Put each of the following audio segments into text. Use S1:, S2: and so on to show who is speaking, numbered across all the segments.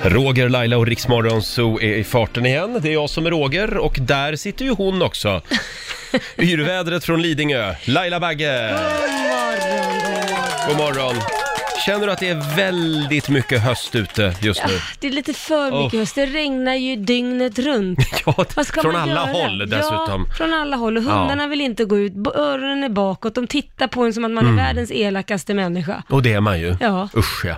S1: Roger, Laila och Riksmorgon Zoo är i farten igen. Det är jag som är Roger och där sitter ju hon också. Yrvädret från Lidingö, Laila Bagge. God morgon. Känner du att det är väldigt mycket höst ute just nu?
S2: Det är lite för mycket
S1: Oh.
S2: höst. Det regnar ju dygnet runt.
S1: Ja,
S2: Vad ska
S1: från
S2: man
S1: alla
S2: göra?
S1: håll dessutom.
S2: Ja, från alla håll. Och hundarna vill inte gå ut. B- Öronen är bakåt. De tittar på en som att man
S1: Mm.
S2: är världens elakaste människa.
S1: Och det är man ju.
S2: Ja.
S1: Usch ja.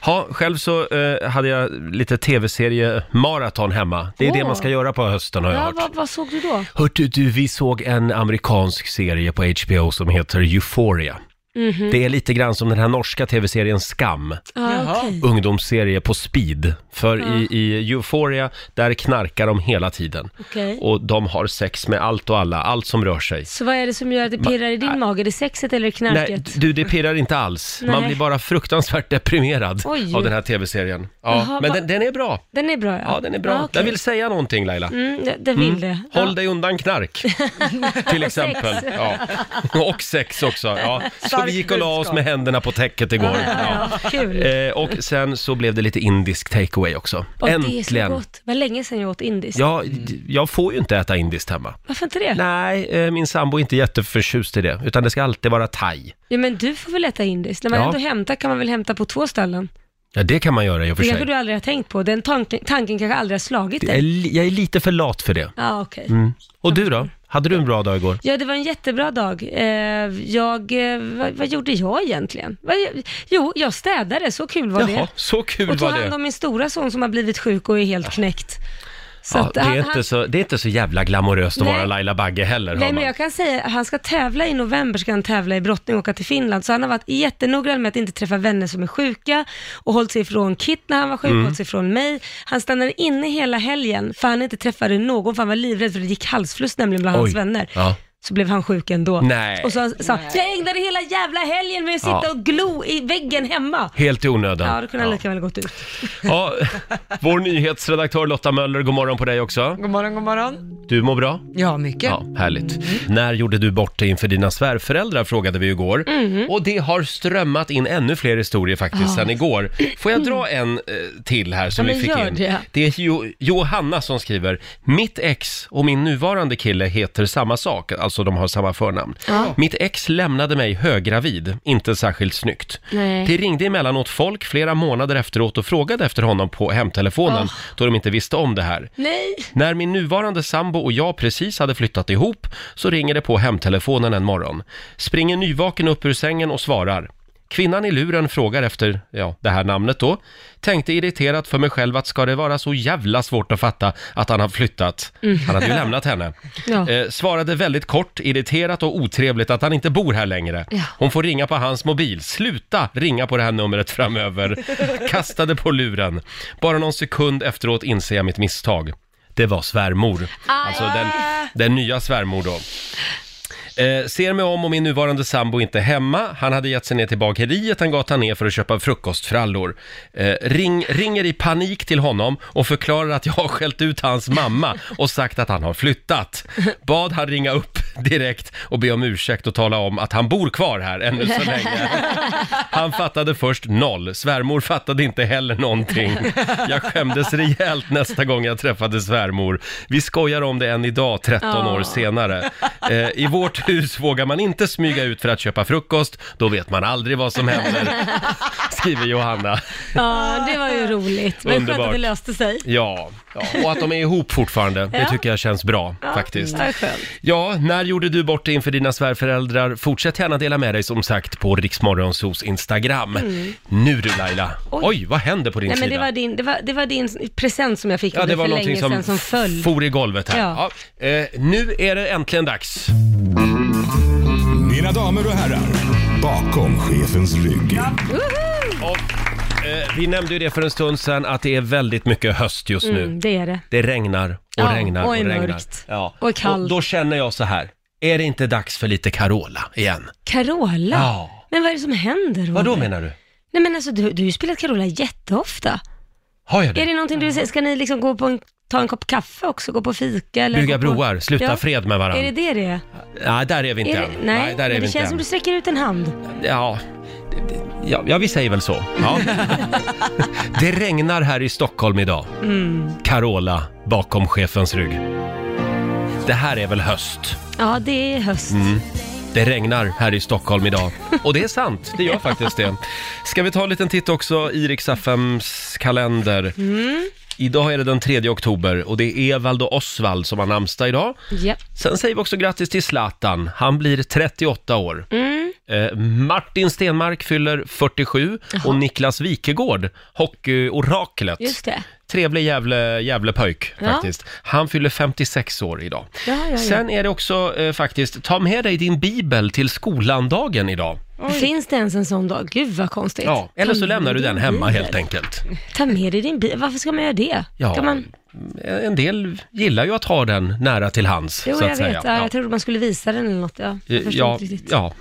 S1: Ha, själv så eh, hade jag lite tv-serie-maraton hemma. Det är det
S2: Åh.
S1: man ska göra på hösten har jag
S2: Ja,
S1: hört.
S2: vad, vad såg du då?
S1: Hörtu du, vi såg en amerikansk serie på HBO som heter Euphoria.
S2: Mm.
S1: Det är lite grann som den här norska tv-serien Skam,
S2: Ja, Ah, okej. Ah.
S1: ungdomsserie på speed. För i, i Euphoria, där knarkar de hela tiden.
S2: Okej.
S1: Och de har sex med allt och alla, allt som rör sig.
S2: Så vad är det som gör att det pirrar i din mage? Är det sexet eller
S1: Nej,
S2: knarket?
S1: du, det pirrar inte alls.
S2: Nej.
S1: Man blir bara fruktansvärt deprimerad
S2: Oj.
S1: av den här tv-serien. Ja,
S2: Jaha,
S1: men
S2: va-
S1: den, den är bra.
S2: Den är bra ja.
S1: Ja, den är bra.
S2: Ja, okej.
S1: Den vill säga någonting Laila.
S2: Mm, det- den vill det.
S1: Håll
S2: ja.
S1: dig undan knark, till exempel. Ja. Och sex också. Ja. Så vi gick och la oss
S3: budskap.
S1: med händerna på täcket igår. Ja.
S2: Ja, kul.
S1: Eh, och sen så blev det lite indisk takeaway också.
S2: Och det är så
S1: Äntligen!
S2: gott. Vad länge sedan jag åt indiskt.
S1: Ja, jag får ju inte äta indiskt hemma.
S2: Varför inte det?
S1: Nej, eh, min sambo är inte jätteförtjust i det, utan det ska alltid vara thai.
S2: Ja, men du får väl äta indiskt? När man
S1: Ja.
S2: ändå hämtar kan man väl hämta på två ställen?
S1: Ja, det kan man göra i och för
S2: Det kanske
S1: sig.
S2: du aldrig har tänkt på. Den tanken, tanken kanske aldrig har slagit
S1: Jag är, Mm.
S2: dig.
S1: li- jag är lite för lat för det.
S2: Ja, okej.
S1: Och du då? Hade du en bra dag igår?
S2: Ja, det var en jättebra dag. Eh, Jag, eh, vad, vad gjorde jag egentligen? Vad, jo, jag städade, så kul var
S1: Jaha,
S2: det.
S1: så kul
S2: Och tog
S1: var det.
S2: hand om min stora son som har blivit sjuk och är helt knäckt. Så
S1: Ja,
S2: att
S1: det,
S2: han-
S1: är
S2: han-
S1: inte så, det är inte så jävla glamoröst att
S2: Nej.
S1: vara Laila Bagge heller. hör
S2: Nej, men
S1: man.
S2: jag kan säga att han ska tävla i november, ska han tävla i brottning och åka till Finland. Så han har varit jättenoggrann med att inte träffa vänner som är sjuka och hållit sig ifrån Kit när han var
S1: Mm.
S2: sjuk, hållit sig ifrån mig. Han stannade inne hela helgen för han inte träffade någon, för han var livrädd för det gick halsfluss nämligen bland hans
S1: Oj.
S2: vänner.
S1: Ja.
S2: Så blev han sjuk ändå.
S1: Nej.
S2: Och så sa han, jag ägnade hela jävla helgen med att sitta
S1: Ja.
S2: och glo i väggen hemma.
S1: Helt i onödan.
S2: Ja, då kunde han lika väl gått ut.
S1: Ja, vår nyhetsredaktör Lotta Möller, god morgon på dig också.
S3: God morgon, god morgon.
S1: Du mår bra?
S3: Ja, mycket.
S1: Ja, härligt. När gjorde du bort dig inför dina svärföräldrar frågade vi igår.
S2: Mhm.
S1: Och det har strömmat in ännu fler historier faktiskt sen igår. Får jag dra en eh, till här som
S2: Ah. Mm. Ja,
S1: vi
S2: men
S1: fick
S2: gör
S1: in?
S2: det.
S1: Det är jo- Johanna som skriver, mitt ex och min nuvarande kille heter samma sak, alltså de har samma förnamn.
S2: Ah.
S1: Mitt ex lämnade mig högravid, inte särskilt snyggt.
S2: Nej.
S1: Det ringde emellanåt folk flera månader efteråt och frågade efter honom på
S2: Ah.
S1: hemtelefonen, då de inte visste om det här.
S2: Nej.
S1: När min nuvarande sambo och jag precis hade flyttat ihop så ringer det på hemtelefonen en morgon. Springer nyvaken upp ur sängen och svarar. Kvinnan i luren frågar efter, ja, det här namnet då. Tänkte irriterat för mig själv att ska det vara så jävla svårt att fatta att han har flyttat? Han hade ju lämnat henne.
S2: Ja.
S1: Eh, svarade väldigt kort, irriterat och otrevligt att han inte bor här längre.
S2: Ja.
S1: Hon får ringa på hans mobil. Sluta ringa på det här numret framöver. Kastade på luren. Bara någon sekund efteråt inser jag mitt misstag. Det var svärmor. Alltså den, den nya svärmor då. Eh, ser mig om och min nuvarande sambo inte är hemma. Han hade gett sig ner till bageriet han gatan ner för att köpa frukostfrallor. Eh, ring, ringer i panik till honom och förklarar att jag har skällt ut hans mamma och sagt att han har flyttat. Bad han ringa upp direkt och be om ursäkt och tala om att han bor kvar här ännu så länge. Han fattade först noll. Svärmor fattade inte heller någonting. Jag skämdes rejält nästa gång jag träffade svärmor. Vi skojar om det än idag, 13 år
S2: Ja.
S1: senare. Eh, I vårt hus vågar man inte smyga ut för att köpa frukost. Då vet man aldrig vad som händer, skriver Johanna.
S2: Ja, det var ju roligt. Men skönt
S1: Underbart.
S2: att det löste sig.
S1: Ja, ja. och att de är ihop fortfarande, det
S2: Ja.
S1: tycker jag känns bra
S2: Ja,
S1: faktiskt.
S2: Det var skönt.
S1: Ja, när gjorde du bort dig inför dina svärföräldrar? Fortsätt gärna dela med dig som sagt på Riksmorgonsos Instagram. Nu du Laila! Oj,
S2: Mm. Oj.
S1: vad händer på din
S2: Nej,
S1: sida?
S2: men det, var din, det, var, det var din present som jag fick
S1: ja,
S2: av
S1: det
S2: dig
S1: var
S2: för länge
S1: någonting som,
S2: sedan som föll.
S1: for i golvet här. Ja.
S2: Ja.
S1: Eh, nu är det äntligen dags.
S4: Mina damer och herrar, bakom chefens rygg.
S1: Och, eh, vi nämnde ju det för en stund sedan att det är väldigt mycket höst just
S2: Mm,
S1: nu.
S2: det är det.
S1: Det regnar och
S2: Ja,
S1: regnar
S2: och
S1: och,
S2: är
S1: regnar.
S2: mörkt. Och är kallt.
S1: då känner jag så här, är det inte dags för lite Carola igen?
S2: Carola?
S1: Ja.
S2: Men vad är det som händer?
S1: Vad då
S2: Robert?
S1: menar du?
S2: Nej men alltså du, du har ju spelat Carola jätteofta.
S1: Har jag det?
S2: Är det någonting du vill säga? Ska ni liksom gå på en, ta en kopp kaffe också? Gå på fika? Eller
S1: Bygga
S2: gå på...
S1: broar, sluta
S2: Ja.
S1: fred med varandra.
S2: Är det det det är?
S1: Nej, där är vi inte
S2: är det...
S1: än.
S2: Nej,
S1: där är
S2: men
S1: vi
S2: det
S1: inte
S2: känns
S1: än.
S2: som du sträcker ut en hand.
S1: Ja, Ja, ja, vi säger väl så. Ja. Det regnar här i Stockholm idag.
S2: Mm.
S1: Carola bakom chefens rygg. Det här är väl höst?
S2: Ja, det är höst.
S1: Mm. Det regnar här i Stockholm idag. Och det är sant, det gör faktiskt det. Ska vi ta en liten titt också i Rix FMs kalender?
S2: Mm.
S1: Idag är det den 3 oktober och det är Evald och Osvald som har namnsdag idag.
S2: Japp.
S1: Sen säger vi också grattis till Zlatan. Han blir 38 år.
S2: Mm.
S1: Eh, Martin Stenmark fyller 47 och Niklas Wikegård, hockeyoraklet.
S2: Just det.
S1: Trevlig jävle, jävle pöjk
S2: Ja.
S1: faktiskt. Han fyller 56 år idag.
S2: Ja, ja, ja.
S1: Sen är det också eh, faktiskt, ta med dig din bibel till skolandagen idag.
S2: Finns det ens en sån dag? Gud vad konstigt. Mm.
S1: Ja, eller så
S2: Ta med
S1: lämnar du
S2: din
S1: den hemma
S2: bil.
S1: helt enkelt.
S2: Ta med dig din bil. Varför ska man göra det?
S1: Ja,
S2: Kan man...
S1: Eh, en del gillar ju att ha den nära till hands,
S2: Jo,
S1: så att
S2: jag
S1: säga. Eh,
S2: vet. Ja. Jag trodde man skulle visa den eller något. Ja, jag förstår
S1: ja,
S2: inte riktigt. Mhm.
S1: ja.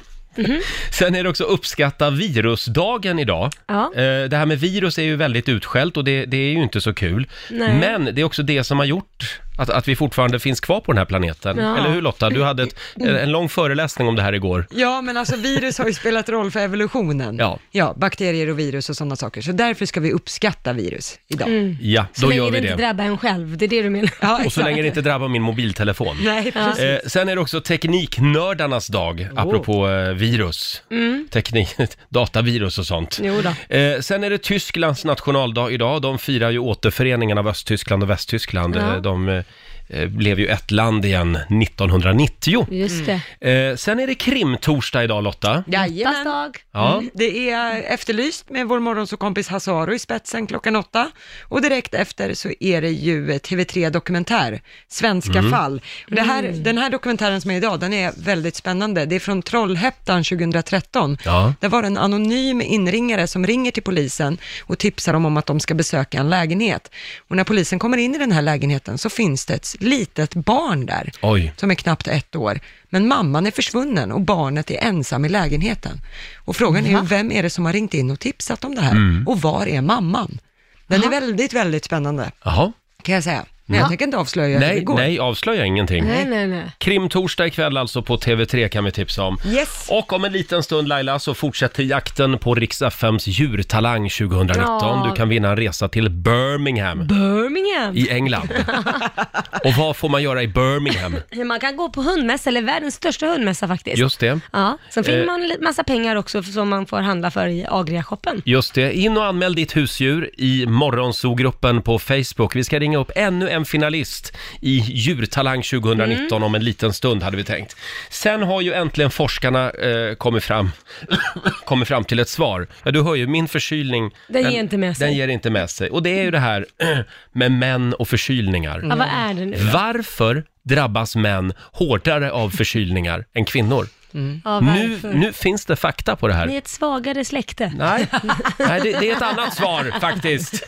S1: Sen är det också uppskatta virusdagen idag.
S2: Ja.
S1: Eh, Det här med virus är ju väldigt utskällt och det, det är ju inte så kul.
S2: Nej.
S1: Men det är också det som har gjort att, att vi fortfarande finns kvar på den här planeten.
S2: Ja. Mm.
S1: Eller hur Lotta? Du hade ett, en lång föreläsning om det här igår.
S3: Ja, men alltså virus har ju spelat roll för evolutionen.
S1: Ja.
S3: bakterier och virus och sådana saker. Så därför ska vi uppskatta virus idag.
S1: Ja,
S2: så
S1: då
S2: länge
S1: gör vi
S2: det
S1: det.
S2: Mm. inte drabbar en själv, det är det du menar.
S3: Ja,
S1: Och så
S3: exakt.
S1: länge det inte drabbar min mobiltelefon.
S3: Nej, precis.
S1: Eh, sen är det också tekniknördarnas dag, apropå eh, virus.
S5: Mm.
S1: Teknik, datavirus och sånt.
S2: Jo då.
S1: Eh, sen är det Tysklands nationaldag idag. De firar ju återföreningen av Östtyskland och Västtyskland.
S2: Ja.
S1: Eh, De eh, eh, blev ju ett land igen 1990.
S2: Just det.
S1: Eh, sen är det krimtorsdag idag Lotta.
S2: Fast
S3: Jajamän.
S2: dag.
S1: Ja,
S3: Mm. Det är efterlyst med vår morgonsåkompis Hasaro i spetsen klockan åtta. Och direkt efter så är det ju TV3 Dokumentär, Svenska
S1: Mm.
S3: fall. Och det här, Den här dokumentären som är idag, den är väldigt spännande. Det är från Trollhättan 2013.
S1: Ja.
S3: Där var det en anonym inringare som ringer till polisen och tipsar dem om att de ska besöka en lägenhet. Och när polisen kommer in i den här lägenheten så finns det ett litet barn där
S1: Oj.
S3: som är knappt ett år. Men mamman är försvunnen och barnet är ensam i lägenheten. Och frågan är ju, vem är det som har ringt in och tipsat om det här?
S1: Mm.
S3: Och var är mamman? Den är väldigt, väldigt spännande,
S1: jaha.
S3: kan jag säga. Men jag tänker inte avslöja hur det
S1: Nej,
S3: går.
S1: nej, avslöja ingenting.
S2: Nej, nej, nej.
S1: Krimtorsdag ikväll alltså på TV3 kan vi tipsa om.
S3: Yes.
S1: Och om en liten stund Laila så fortsätter jakten på Rix FMs djurtalang 2019.
S2: Ja.
S1: Du kan vinna en resa till Birmingham
S2: Birmingham.
S1: i England. Och vad får man göra i Birmingham?
S2: Man kan gå på hundmässa, eller världens största hundmässa faktiskt.
S1: Just det.
S2: Ja, sen
S1: Eh.
S2: får man li- massa pengar också som man får handla för i Agria-shoppen.
S1: Just det. In och anmäl ditt husdjur i Morgonzoo-gruppen på Facebook. Vi ska ringa upp ännu en finalist i Djurtalang 2019
S2: Mm.
S1: om en liten stund hade vi tänkt. Sen har ju äntligen forskarna eh, kommit, fram, kommit fram till ett svar. Ja, du hör ju, min förkylning...
S2: Den ger inte med sig.
S1: Den ger inte med sig. Och det är ju det här med män och förkylningar.
S2: Ja, vad är det nu?
S1: Varför drabbas män hårdare av förkylningar än kvinnor?
S2: Mm. Ja,
S1: Nu,
S2: varför?
S1: nu finns det fakta på det här.
S2: Ni är ett svagare släkte.
S1: Nej, Nej det, det är ett annat svar faktiskt.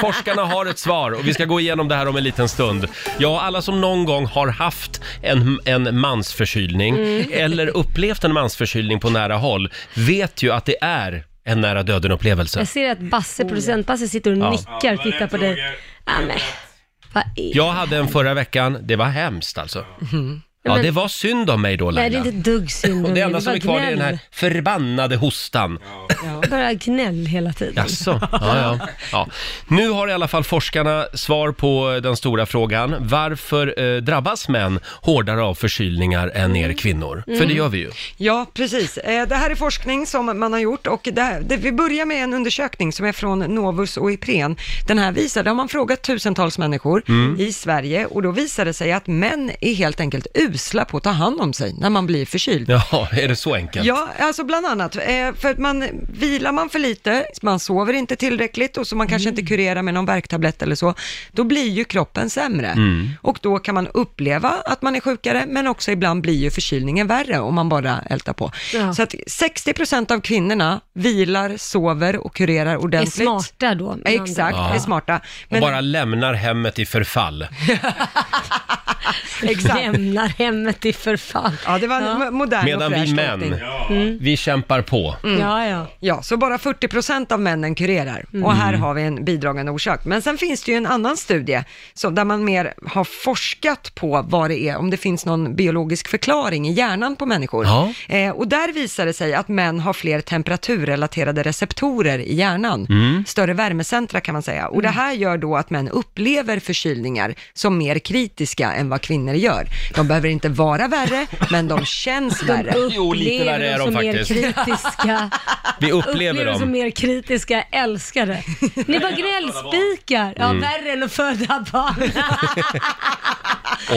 S1: Forskarna har ett svar och vi ska gå igenom det här om en liten stund. Ja, alla som någon gång har haft en, en mansförkylning
S2: Mm.
S1: eller upplevt en mansförkylning på nära håll vet ju att det är en nära döden-upplevelse.
S2: Jag ser att
S1: Oh,
S2: Basse, producent Basse sitter och nickar och tittar på dig. Ja, men, vad är...
S1: Jag hade en förra veckan, det var hemskt alltså. Ja,
S2: Men-
S1: det var synd om mig då
S2: Nej, det är
S1: Laila.
S2: inte ett dugg synd om
S1: Det
S2: er,
S1: enda
S2: är
S1: som
S2: bara
S1: är kvar är den här
S2: gnäll.
S1: förbannade hostan.
S2: Bara gnäll hela tiden.
S1: Jaså? Ja, ja. Ja. Nu har i alla fall forskarna svar på den stora frågan. Varför eh, drabbas män hårdare av förkylningar än er kvinnor? För det
S2: Mm.
S1: gör vi ju.
S3: Ja, precis. Eh, Det här är forskning som man har gjort och det här, det, vi börjar med en undersökning som är från Novus och Ipren. Den här visar, där har man frågat tusentals människor
S1: Mm.
S3: i Sverige och då visade det sig att män är helt enkelt usla på att ta hand om sig när man blir förkyld.
S1: Ja, är det så enkelt?
S3: Ja, alltså bland annat. eh, För att man vilar man för lite, man sover inte tillräckligt och så man
S1: Mm.
S3: kanske inte kurerar med någon värktablett eller så, då blir ju kroppen sämre.
S1: Mm.
S3: Och då kan man uppleva att man är sjukare, men också ibland blir ju förkylningen värre om man bara ältar på.
S2: Ja.
S3: Så att 60% av kvinnorna vilar, sover och kurerar
S2: Är
S3: ordentligt.
S2: smarta då. med andra
S3: Exakt,
S2: ord.
S3: är smarta.
S1: Och bara lämnar hemmet i förfall.
S3: exakt.
S2: Lämnar hemmet i förfall.
S3: Ja, det var en
S2: Ja.
S3: mo- modern
S1: Medan
S3: och fräsch
S1: vi män,
S3: tolkning.
S2: Mm.
S1: vi kämpar på.
S2: Ja, ja.
S3: Mm.
S2: Mm.
S3: Ja, så bara 40% av männen kurerar. Och här har vi en bidragande orsak. Men sen finns det ju en annan studie så, där man mer har forskat på vad det är, om det finns någon biologisk förklaring i hjärnan på människor.
S1: Ja.
S3: Eh, och där visar det sig att män har fler temperaturrelaterade receptorer i hjärnan.
S1: Mm.
S2: Mm.
S3: Större värmecentra kan man säga. Och det här gör då att män upplever förkylningar som mer kritiska än vad kvinnor gör. De behöver inte vara värre, men de känns värre.
S1: Jo, lite
S2: Upplever
S1: värre är
S2: oss
S1: de
S2: som mer
S1: faktiskt.
S2: Kritiska.
S1: Vi upplever
S2: Upplever oss som
S1: dem.
S2: mer kritiska, älskar det. Ni var gnällspikar.
S1: Mm.
S2: Ja, värre än att föda barn.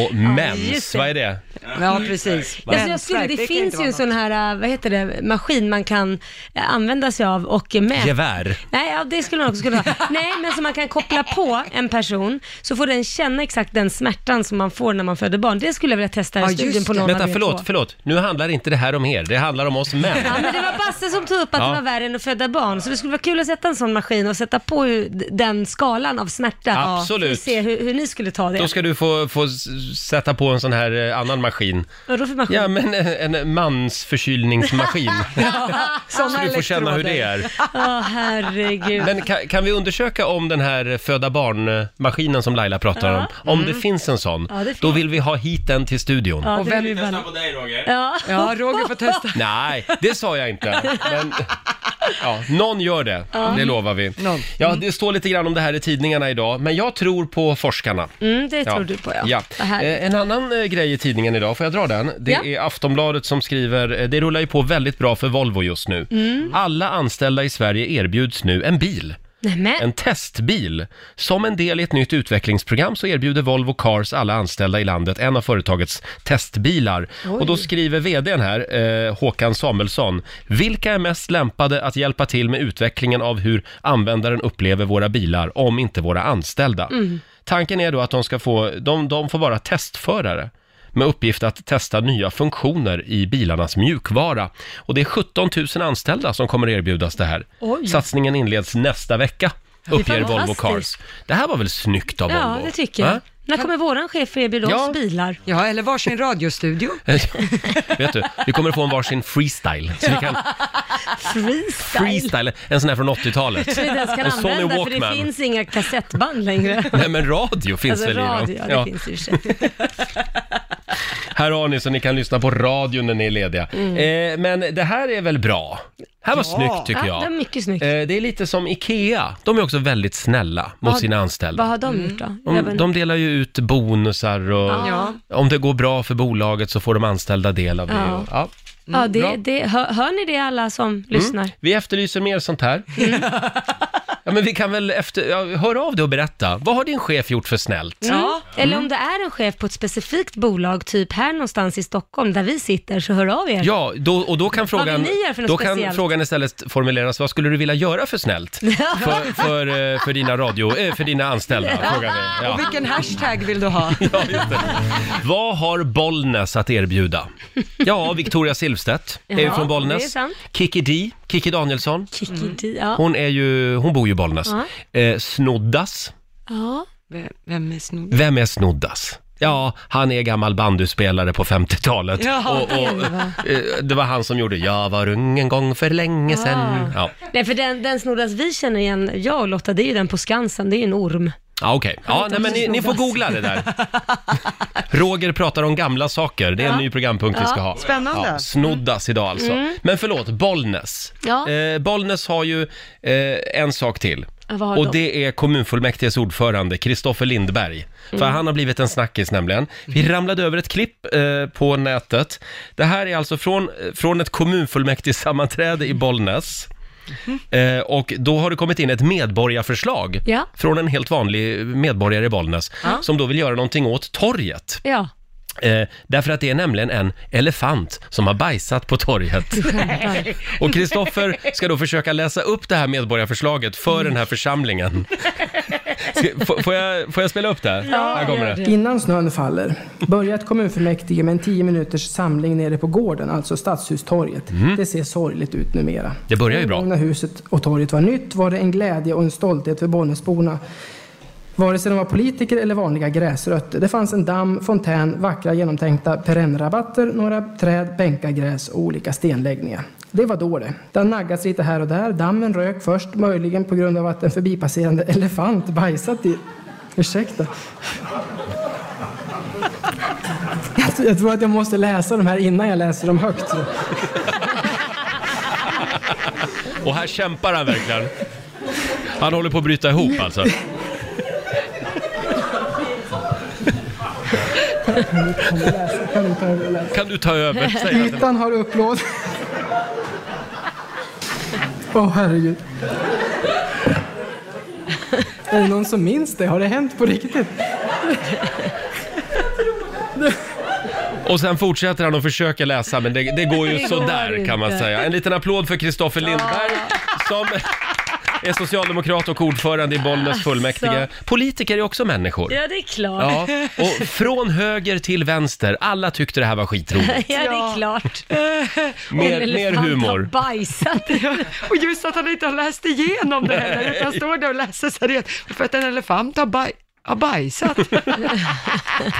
S1: Och mens,
S2: just det.
S1: vad är det?
S3: Ja, precis.
S2: Alltså jag skulle,
S3: Mensvärk,
S2: det
S3: kan inte
S2: finns ju
S3: vara
S2: en sån här, eh, vad heter det, maskin man kan eh, använda sig av och eh, mäta.
S1: Gevär.
S2: Nej, ja, det skulle man också kunna ha. Nej, men som man kan koppla på en person så får den känna exakt den smärtan som man får när man föder barn. Det skulle jag vilja testa i
S3: Ja,
S2: studien
S3: just
S2: på
S3: det.
S2: någon av
S1: Vänta,
S2: er
S1: förlåt,
S2: två.
S1: förlåt. Nu handlar inte det här om er, det handlar om oss män.
S2: Ja, men det var Basse som tog upp att
S1: Ja.
S2: det var värre än att föda barn, så det skulle vara kul att sätta en sån maskin och sätta på hur- d- den skalan av smärta. Ja,
S1: Absolut.
S2: för att se hur, hur ni skulle ta det.
S1: Då ska du få, få s- sätta på en sån här eh, annan maskin.
S2: Vadå för maskin?
S1: Ja, men eh, en mansförkylningsmaskin.
S3: Såna
S1: Så du får känna hur det
S3: elektroder.
S1: är.
S2: Åh, herregud.
S1: Men kan, kan vi undersöka om den här föda barn-maskinen som Laila pratar om, om det finns en sån?
S2: Mm. Ja, det finns.
S1: Då vill vi ha hit den till studion.
S2: ja,
S3: och
S2: det
S3: vem-
S2: blir väl-
S6: Lyssna på dig Roger.
S2: Ja.
S3: Ja, Roger får testa.
S1: Nej, det sa jag inte. Men, ja, någon gör det, det lovar vi.
S3: Någon.
S1: Ja,
S2: Mm.
S1: det står lite grann om det här i tidningarna idag, men jag tror på forskarna.
S2: Mm, det tror du på ja.
S1: ja.
S2: Vad härligt.
S1: Eh, En annan eh, grej i tidningen idag, får jag dra den? Det
S2: Ja.
S1: är Aftonbladet som skriver, eh, det rullar ju på väldigt bra för Volvo just nu.
S2: Mm.
S1: Alla anställda i Sverige erbjuds nu en bil.
S2: Nämen.
S1: En testbil. Som en del i ett nytt utvecklingsprogram så erbjuder Volvo Cars alla anställda i landet en av företagets testbilar. Och då skriver vdn här, eh, Håkan Samuelsson, vilka är mest lämpade att hjälpa till med utvecklingen av hur användaren upplever våra bilar, om inte våra anställda? Tanken är då att de ska få, de, de får vara testförare med uppgift att testa nya funktioner i bilarnas mjukvara. Och det är 17 000 anställda som kommer erbjudas det här.
S2: Oj.
S1: Satsningen inleds nästa vecka, uppger Volvo
S2: fantastiskt.
S1: Cars. Det här var väl snyggt av
S2: Ja,
S1: Volvo?
S2: det tycker jag.
S1: Va?
S2: När kommer våran chef erbjuda
S1: Ja.
S2: oss bilar?
S3: Ja, eller varsin radiostudio.
S1: Vet du, vi kommer att få en varsin freestyle. Så vi kan
S2: Freestyle.
S1: freestyle, en sån här från 80-talet.
S2: Som vi inte ens kan
S1: En Sony
S2: använda för det
S1: Walkman.
S2: finns inga kassettband längre.
S1: Nej men radio finns
S2: Alltså
S1: väl
S2: radio,
S1: i
S2: ja,
S1: dem?
S2: det finns i och för sig.
S1: Här har ni så ni kan lyssna på radion när ni är lediga. Eh, men det här är väl bra? Det här var snyggt tycker
S2: Mm. Ja,
S1: jag.
S2: det är mycket snyggt.
S1: Eh, det är lite som IKEA. De är också väldigt snälla mot
S2: Vad-
S1: sina
S2: Vad
S1: anställda.
S2: har de gjort då? Jag vet
S1: Mm. De,
S2: inte.
S1: de delar ju ut bonusar och
S2: Ja.
S1: om det går bra för bolaget så får de anställda del av det.
S2: Ja.
S1: Och, ja. Mm.
S2: ja,
S1: bra.
S2: det, det, hör, hör ni det alla som lyssnar?
S1: Vi efterlyser mer sånt här.
S2: Mm.
S1: Ja, men vi kan väl efter, ja, hör av dig och berätta. Vad har din chef gjort för snällt?
S2: Mm. Eller om det är en chef på ett specifikt bolag, typ här någonstans i Stockholm där vi sitter, så hör av er.
S1: Ja, då, och då kan
S2: Mm. vill
S1: frågan,
S2: ni göra för något
S1: då kan
S2: speciellt?
S1: frågan istället formuleras, vad skulle du vilja göra för snällt? För, för, eh, för dina radio, eh, för dina anställda, frågar vi. Ja.
S3: Och vilken hashtag vill du ha?
S1: Ja, just det. Vad har Bollnäs att erbjuda? Ja, Victoria Silvstedt är ju
S2: Ja,
S1: från
S2: det är
S1: Bollnäs.
S2: sant.
S1: Kiki D, Kiki Danielsson.
S2: Kiki Di, ja.
S1: Hon, är ju, hon bor ju i Bollnäs. Eh, snoddas.
S2: ja.
S3: V- Vem är snodd?
S1: Vem är Snoddas? Ja, han är gammal bandyspelare på 50-talet.
S3: Jaha,
S1: och, och, eh, det var han som gjorde “Jag var ung en gång för länge sen”.
S2: Ah.
S1: Ja,
S2: Nej, för den, den snoddas vi känner igen, jag och Lotta, det är ju den på Skansen, det är ju en orm.
S1: ja okej. Ja, nej, men ni, ni får googla det där. Roger pratar om gamla saker, det är en ny programpunkt vi ska ha.
S3: Spännande.
S1: Ja, snoddas idag alltså. Men förlåt, Bollnäs.
S2: Ja.
S1: Eh, Bollnäs har ju eh, en sak till.
S2: Ja, vad har
S1: Och
S2: de?
S1: det är kommunfullmäktiges ordförande, Kristoffer Lindberg. För
S2: Mm.
S1: han har blivit en snackis nämligen. Vi ramlade över ett klipp eh, på nätet. Det här är alltså från, från ett kommunfullmäktigesammanträde i Bollnäs. Eh, och då har det kommit in ett medborgarförslag
S2: Mm-hmm. Ja.
S1: från en helt vanlig medborgare i Bollnäs som då vill göra någonting åt torget.
S2: Ja,
S1: Eh, därför att det är nämligen en elefant som har bajsat på torget.
S2: du skämtar.
S1: Och Kristoffer ska då försöka läsa upp det här medborgarförslaget för den här församlingen. Ska, f- får, jag, får jag spela upp det? här? här kommer
S2: gör
S1: det.
S2: det.
S7: Innan snön faller börjar kommunfullmäktige med en 10 minuters samling nere på gården, alltså Stadshustorget. Det ser sorgligt ut numera.
S1: Det börjar ju bra.
S7: När huset och torget var nytt var det en glädje och en stolthet för Bollnäsborna. Vare sig de var politiker eller vanliga gräsrötter. Det fanns en damm, fontän, vackra genomtänkta perennrabatter, några träd, bänkar, gräs och olika stenläggningar. Det var då det. Det har naggats lite här och där. Dammen rök först, möjligen på grund av att en förbipasserande elefant bajsat i... Ursäkta. Jag tror- Jag tror att jag måste läsa de här innan jag läser dem högt.
S1: Och här kämpar han verkligen. Han håller på att bryta ihop alltså.
S7: Kan du läsa? Kan du ta över och läsa?
S1: Kan du ta över? Säger han.
S7: Ytan har upplåst... Åh herregud. Är det någon som minns det? Har det hänt på riktigt?
S1: Och sen fortsätter han att försöka läsa, men det, det går ju
S2: Det går
S1: sådär kan man
S2: inte.
S1: säga. En liten applåd för Kristoffer Lindberg som är socialdemokrat och ordförande i Bollnäs fullmäktige. Politiker är också människor.
S2: Ja, det är klart.
S1: Ja, och från höger till vänster, alla tyckte det här var skitroligt.
S2: Ja, det är klart.
S1: Mer,
S2: En
S1: mer
S2: elefant har
S1: humor.
S2: bajsat.
S3: Och just att han inte har läst igenom det heller, utan står där och läser seriöst. För att en elefant har, baj har bajsat.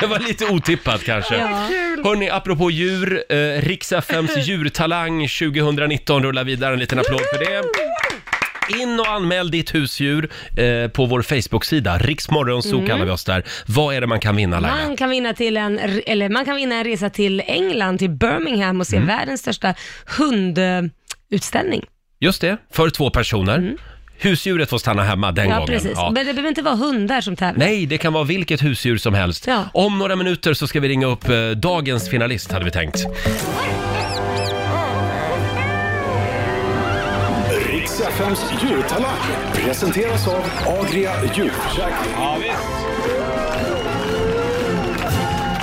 S1: Det var lite otippat kanske.
S2: Ja.
S1: Hörni, apropå djur, eh, Rix FMs djurtalang 2019 rullar vidare. En liten applåd för det. In och anmäl ditt husdjur eh, på vår Facebook-sida. Riksmorgonzoo
S2: Mm.
S1: kallar vi oss där. Vad är det man kan vinna Laila?
S2: Man kan, vinna till en, eller man kan vinna en resa till England, till Birmingham
S1: Mm.
S2: och se världens största hundutställning.
S1: Just det, för två personer. Husdjuret får stanna hemma den
S2: Mm. Ja,
S1: gången.
S2: precis.
S1: Ja.
S2: Men det behöver inte vara hundar som tävlar.
S1: Nej, det kan vara vilket husdjur som helst.
S2: Ja.
S1: Om några minuter så ska vi ringa upp eh, dagens finalist, hade vi tänkt.
S4: Riks FMs djurtalang presenteras av Agria djurförsäkring.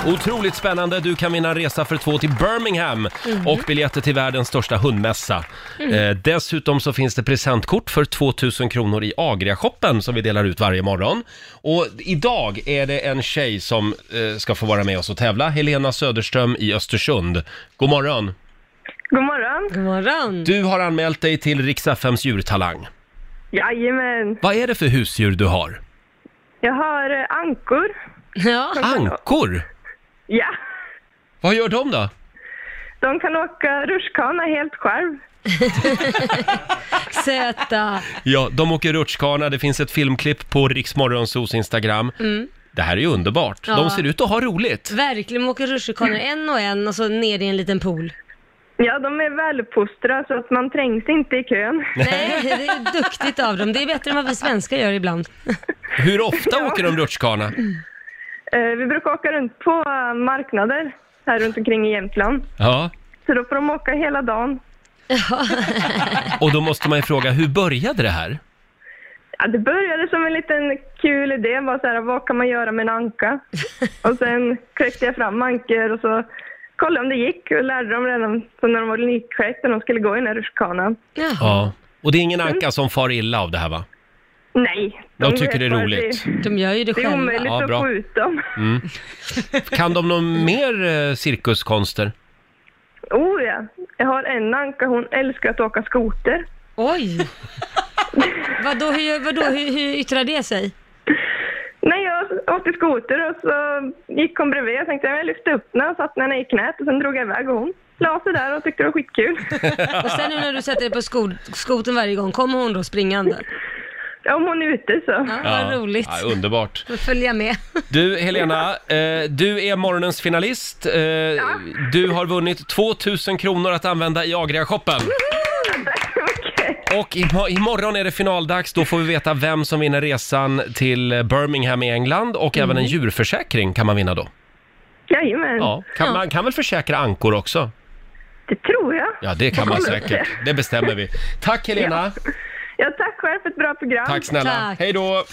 S1: Otroligt spännande. Du kan vinna en resa för två till Birmingham
S2: Mhm.
S1: och biljetter till världens största hundmässa. Eh, dessutom så finns det presentkort för 2000 kronor i Agria-shoppen som vi delar ut varje morgon. Och idag är det en tjej som eh, ska få vara med oss och tävla. Helena Söderström i Östersund. God morgon!
S6: God morgon.
S2: God morgon.
S1: Du har anmält dig till Riks-FMs djurtalang.
S6: Jajamän.
S1: Vad är det för husdjur du har?
S6: Jag har eh, ankor.
S2: Ja.
S1: Ankor?
S6: Ja.
S1: Vad gör de då?
S6: De kan åka rutschkana helt själv.
S2: Söta.
S1: Ja, de åker rutschkana. Det finns ett filmklipp på Riksmorgonsos Instagram. Det här är ju underbart. De
S2: Ja.
S1: ser ut att ha roligt.
S2: mm. Verkligen, de åker rutschkanor en och en och så ner i en liten pool.
S6: Ja, de är väluppfostrade så att man trängs inte i kön.
S2: Nej, det är duktigt av dem. Det är bättre än vad vi svenskar gör ibland.
S1: Hur ofta åker de rutschkana?
S6: Eh, Vi brukar åka runt på eh, marknader här runt omkring i Jämtland.
S1: Ja,
S6: Så då får de åka hela dagen.
S1: och då måste man ju fråga, hur började det här?
S6: Ja, det började som en liten kul idé, bara så här, vad kan man göra med en anka? Och sen kläckte jag fram ankor och så kollade om det gick och lärde dem redan så när de var nykläckta när de skulle gå i den här rutschkanan.
S2: Jaha.
S1: Ja. Och det är ingen anka som far illa av det här va?
S6: Nej.
S1: De
S6: vet
S1: tycker det är
S6: bara att
S1: roligt.
S2: De gör ju det
S6: Det är
S2: själva.
S6: omöjligt
S1: Ja, bra.
S6: att få ut dem.
S1: Mm. Kan de någon mer eh, cirkuskonster?
S6: Oh ja. Jag har en anka, hon älskar att åka skoter.
S2: Oj! vadå, hur, gör- vadå hur, hur yttrar det sig?
S6: När jag åkte skoter och så gick hon bredvid. Jag tänkte jag lyfte upp henne och satte henne i knät och sen drog jag iväg och hon la sig där och tyckte det var skitkul.
S2: Och sen nu när du sätter dig på skod, skoten varje gång, kommer hon då springande?
S6: Ja, Om hon är ute så.
S2: Ja, Vad roligt.
S1: Ja, underbart.
S2: Får följa med.
S1: Du Helena, eh, du är morgonens finalist. Eh, Du har vunnit 2000 kronor att använda i Agria-shoppen.
S6: Okej.
S1: Och im- imorgon är det finaldags, då får vi veta vem som vinner resan till Birmingham i England och även en djurförsäkring kan man vinna då.
S6: Jajamän.
S1: Mm. Ja, kan, man kan väl försäkra ankor också?
S6: Det tror jag.
S1: Ja, det kan man säkert. Det bestämmer vi. Tack Helena!
S6: Ja, tack själv för ett bra program.
S1: Tack snälla!
S2: Tack.
S1: Hej då!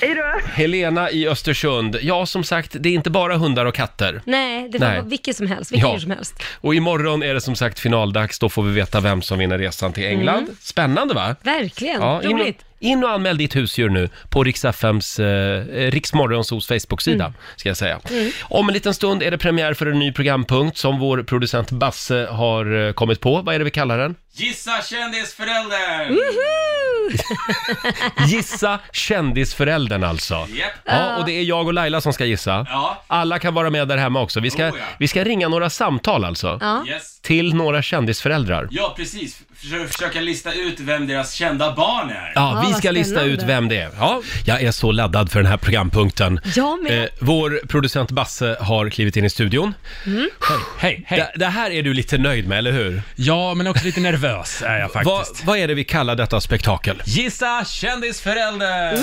S6: Hej då.
S1: Helena i Östersund. Ja, som sagt, det är inte bara hundar och katter.
S2: Nej, det får
S1: Nej.
S2: vara vilket som helst. Vilket
S1: Ja.
S2: djur som helst.
S1: Och imorgon är det som sagt finaldags, då får vi veta vem som vinner resan till England.
S8: Mm.
S1: Spännande va?
S2: Verkligen.
S1: Ja, in, och,
S2: Roligt.
S1: in och anmäl ditt husdjur nu på Riks-FMs, eh, Riksmorgonsos Facebook-sida,
S8: Mm.
S1: ska jag säga. Om en liten stund är det premiär för en ny programpunkt som vår producent Basse har eh, kommit på. Vad är det vi kallar den?
S8: Gissa kändisföräldern!
S1: Gissa kändisföräldern alltså.
S8: Japp.
S1: Ja, och det är jag och Laila som ska gissa.
S8: Ja.
S1: Alla kan vara med där hemma också. Vi ska,
S8: Oh, ja.
S1: vi ska ringa några samtal alltså.
S2: Ja.
S8: Yes.
S1: Till några kändisföräldrar.
S8: Ja, precis. Försö- Försöka lista ut vem deras kända barn är.
S1: Ja,
S2: Ja,
S1: vi
S2: vad
S1: ska lista
S2: spännande.
S1: ut vem det är. Ja, jag är så laddad för den här programpunkten. Eh,
S2: Jag med.
S1: vår producent Basse har klivit in i studion.
S5: Hej, hej.
S1: Det, det här är du lite nöjd med, eller hur?
S5: Ja, men också lite nervös är jag
S1: Va,
S5: faktiskt.
S1: vad är det vi kallar detta spektakel?
S8: Gissa kändisföräldern!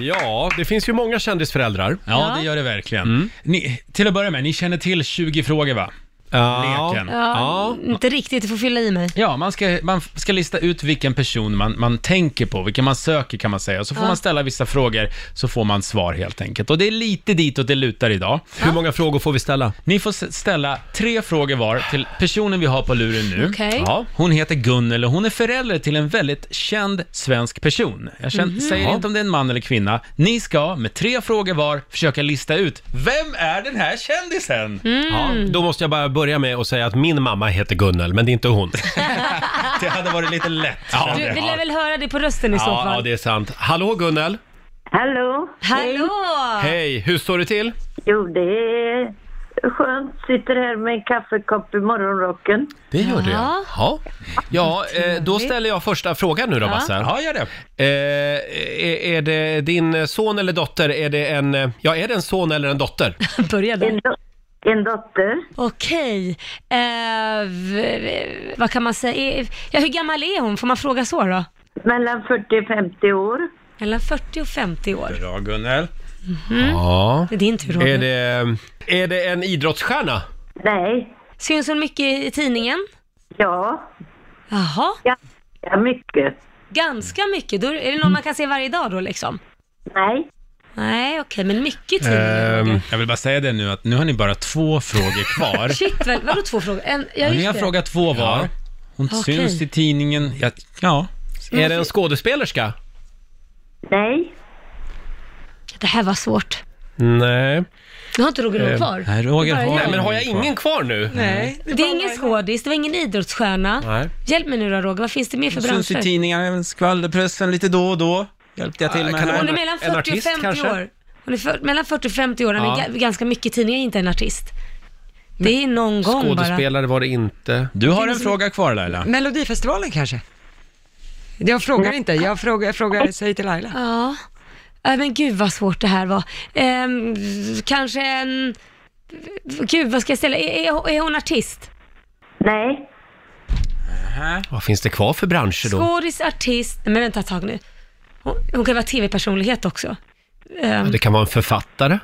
S1: Ja, det finns ju många kändisföräldrar.
S5: Ja, det gör det verkligen.
S8: Mm.
S5: Ni, till att börja med, ni känner till 20 frågor va?
S1: Ja.
S5: Leken.
S1: Ja.
S2: Inte riktigt, du får fylla i mig.
S5: Ja, man ska, man f- ska lista ut vilken person man, man tänker på, vilken man söker kan man säga. Och så får man ställa vissa frågor, så får man svar helt enkelt. Och det är lite ditåt det lutar idag.
S1: Hur många frågor får vi ställa?
S5: Ni får s- ställa tre frågor var till personen vi har på luren nu.
S2: Okej.
S1: Ja.
S5: Hon heter Gunnel och hon är förälder till en väldigt känd svensk person. Jag känner,
S2: Mhm.
S5: säger inte om det är en man eller kvinna. Ni ska med tre frågor var försöka lista ut, vem är den här kändisen?
S2: Mm.
S1: ja. Då måste jag bara börja med att säga att min mamma heter Gunnel, men det är inte hon.
S5: Det hade varit lite lätt.
S2: Du vill jag väl höra det på rösten i så
S1: Ja, ja,
S2: fall.
S1: det är sant. Hallå Gunnel!
S9: Hallå!
S2: Hallå!
S1: Hej, hur står det till?
S9: Jo, det är skönt. Sitter här med en kaffekopp i morgonrocken.
S1: Det gör det.
S2: Ja.
S1: Ja, ja eh, då ställer jag första frågan nu då Basse.
S5: Ja, gör det.
S1: Eh, är, är det din son eller dotter? Är det en, eh, ja, är det en son eller en dotter?
S2: Börja där.
S9: En, do- en dotter,
S2: Okej. Eh, v- v- vad kan man säga? Eh, Ja, hur gammal är hon? Får man fråga så då?
S9: mellan 40 och 50 år.
S2: Mellan 40 och 50 år.
S5: Bra Gunnel.
S1: Ja.
S2: Mhm. Det är din tur
S1: Är
S2: Roger.
S1: det, eh, är det en idrottsstjärna?
S9: Nej,
S2: Syns hon mycket i tidningen?
S9: ja,
S2: Jaha,
S9: ganska mycket.
S2: ganska mycket. Då är det någon man kan se varje dag då liksom?
S9: Nej,
S2: Nej, okej, men mycket i tidningen. Roger.
S5: Ehm, Jag vill bara säga det nu att nu har ni bara två frågor kvar.
S2: Shit, väl, vadå två frågor? En, ja,
S5: Ni
S2: just
S5: har
S2: det.
S5: frågat två var.
S1: Ja.
S5: Hon
S2: Okej.
S5: syns i tidningen. Ja, ja.
S1: Är det en skådespelerska?
S9: nej,
S2: Det här var svårt.
S1: Nej.
S2: Nu har inte Roger någon kvar.
S5: Eh, Nej, Roger
S2: Det är bara
S5: har
S2: jag.
S1: Nej, men har jag ingen kvar nu?
S3: Nej,
S2: Det är ingen skådis, det var ingen idrottsstjärna.
S1: Nej.
S2: Hjälp mig nu då Roger, vad finns det mer för
S5: Syns i
S2: branscher?
S5: tidningar, även skvallerpressen lite då och då. Hjälpte jag till med.
S1: kan det
S5: här.
S1: vara
S2: Hon är
S1: En-
S2: mellan
S1: en
S2: 40
S1: artist,
S2: och 50
S1: kanske?
S2: år. Hon är för, mellan 40 och 50 år, hon
S1: Ja.
S2: är ga- ganska mycket i tidningen, inte en artist. Det är någon gång bara.
S1: Skådespelare var det inte.
S5: Du har en fråga kvar Laila.
S3: Melodifestivalen kanske? Jag frågar inte, jag frågar, jag frågar, säg till Laila.
S2: Ja. Äh, men gud vad svårt det här var. Ehm, kanske en... Gud, vad ska jag ställa? Är, är, är hon artist?
S9: nej,
S1: Vad finns det kvar för branscher då?
S2: Skådis, artist... Nej, men vänta ett tag nu. Hon, hon kan vara tv-personlighet också. Ehm,
S1: Det kan vara en författare.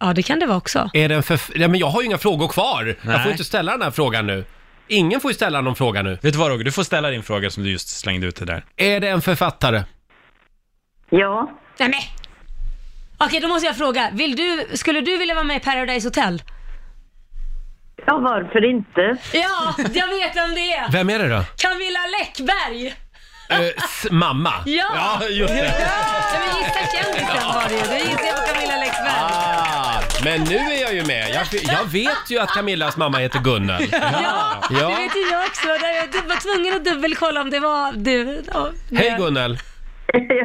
S2: ja, det kan det vara också.
S1: Är det en förf... Nej, men jag har ju inga frågor kvar. Jag får
S5: Nej.
S1: inte ställa den här frågan nu. Ingen får ju ställa någon fråga nu.
S5: Vet du vad Roger, du får ställa din fråga som du just slängde ut det där.
S1: Är det en författare?
S9: ja,
S2: Nej, men. Okej, då måste jag fråga. Vill du, skulle du vilja vara med i Paradise Hotel?
S9: ja, varför inte?
S2: Ja, jag vet vem det är.
S1: Vem är det då?
S2: Camilla Läckberg!
S1: Eh, s- mamma.
S2: Ja!
S1: ja, just det.
S2: Nej, men gissa kändisen var det ju. Du gissade på Camilla Läckberg.
S1: Ah, men nu är jag ju med. Jag, jag vet ju att Camillas mamma heter Gunnel.
S2: Ja,
S1: Ja.
S2: det vet ju jag också. Där Jag du- var tvungen att dubbelkolla om det var du. Ja, det-
S1: Hej Gunnel!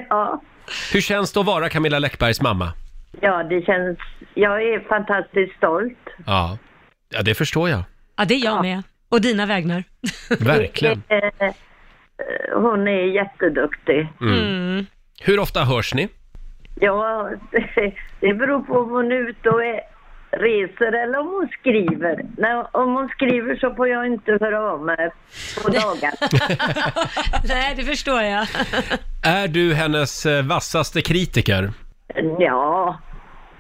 S9: ja.
S1: Hur känns det att vara Camilla Läckbergs mamma?
S9: ja, det känns... Jag är fantastiskt stolt.
S1: Ja, ja det förstår jag.
S2: Ja, det är jag med. Och dina vägnar.
S1: Verkligen.
S9: Eh, Hon är jätteduktig.
S2: Mm.
S1: Hur ofta hörs ni?
S9: Ja, det beror på om hon är ute och är, reser eller om hon skriver. Nej, om hon skriver så får jag inte höra av mig på dagar.
S2: Nej, det förstår jag.
S1: Är du hennes eh, vassaste kritiker?
S9: Mm, Ja,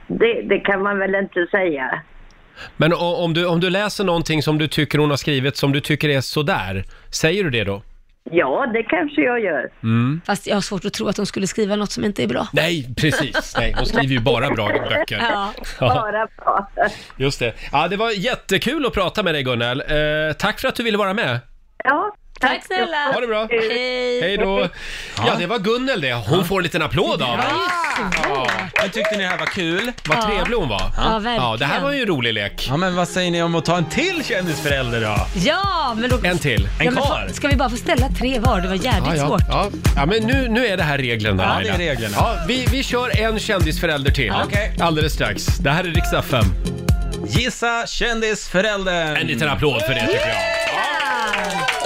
S9: det, det kan man väl inte säga.
S1: Men o- om du, om du läser någonting som du tycker hon har skrivit som du tycker är sådär, säger du det då?
S9: Ja, det kanske jag gör.
S5: Mm.
S2: Fast jag har svårt att tro att hon skulle skriva något som inte är bra.
S1: Nej, precis. Nej, hon skriver ju bara bra böcker.
S2: Ja.
S9: Bara bra.
S1: Just det. Ja, det var jättekul att prata med dig Gunnel. Eh, tack för att du ville vara med.
S9: Ja,
S2: Tack snälla.
S1: Ha det bra.
S2: Hej.
S1: Hej då. Ja, det var Gunnel det. Hon får en liten applåd av oss.
S5: Men tyckte ni det här var kul?
S1: Vad trevlig hon var.
S2: Ja, verkligen.
S1: Ja, det här var ju en rolig lek.
S5: Ja, men vad säger ni om att ta en till kändisförälder då?
S2: Ja, men då...
S1: En till.
S5: En
S2: ja, men
S5: kvar.
S2: fa- Ska vi bara få ställa tre var? Det var jävligt
S1: Ja, ja,
S2: svårt.
S1: ja. ja men nu, nu är det här reglerna
S5: Ja,
S1: Laila.
S5: det är reglerna.
S1: Ja, vi, vi kör en kändisförälder till.
S5: Okej.
S1: Alldeles strax. Det här är riksdag 5.
S5: Gissa kändisföräldern!
S1: En liten applåd för det tycker jag. Ja.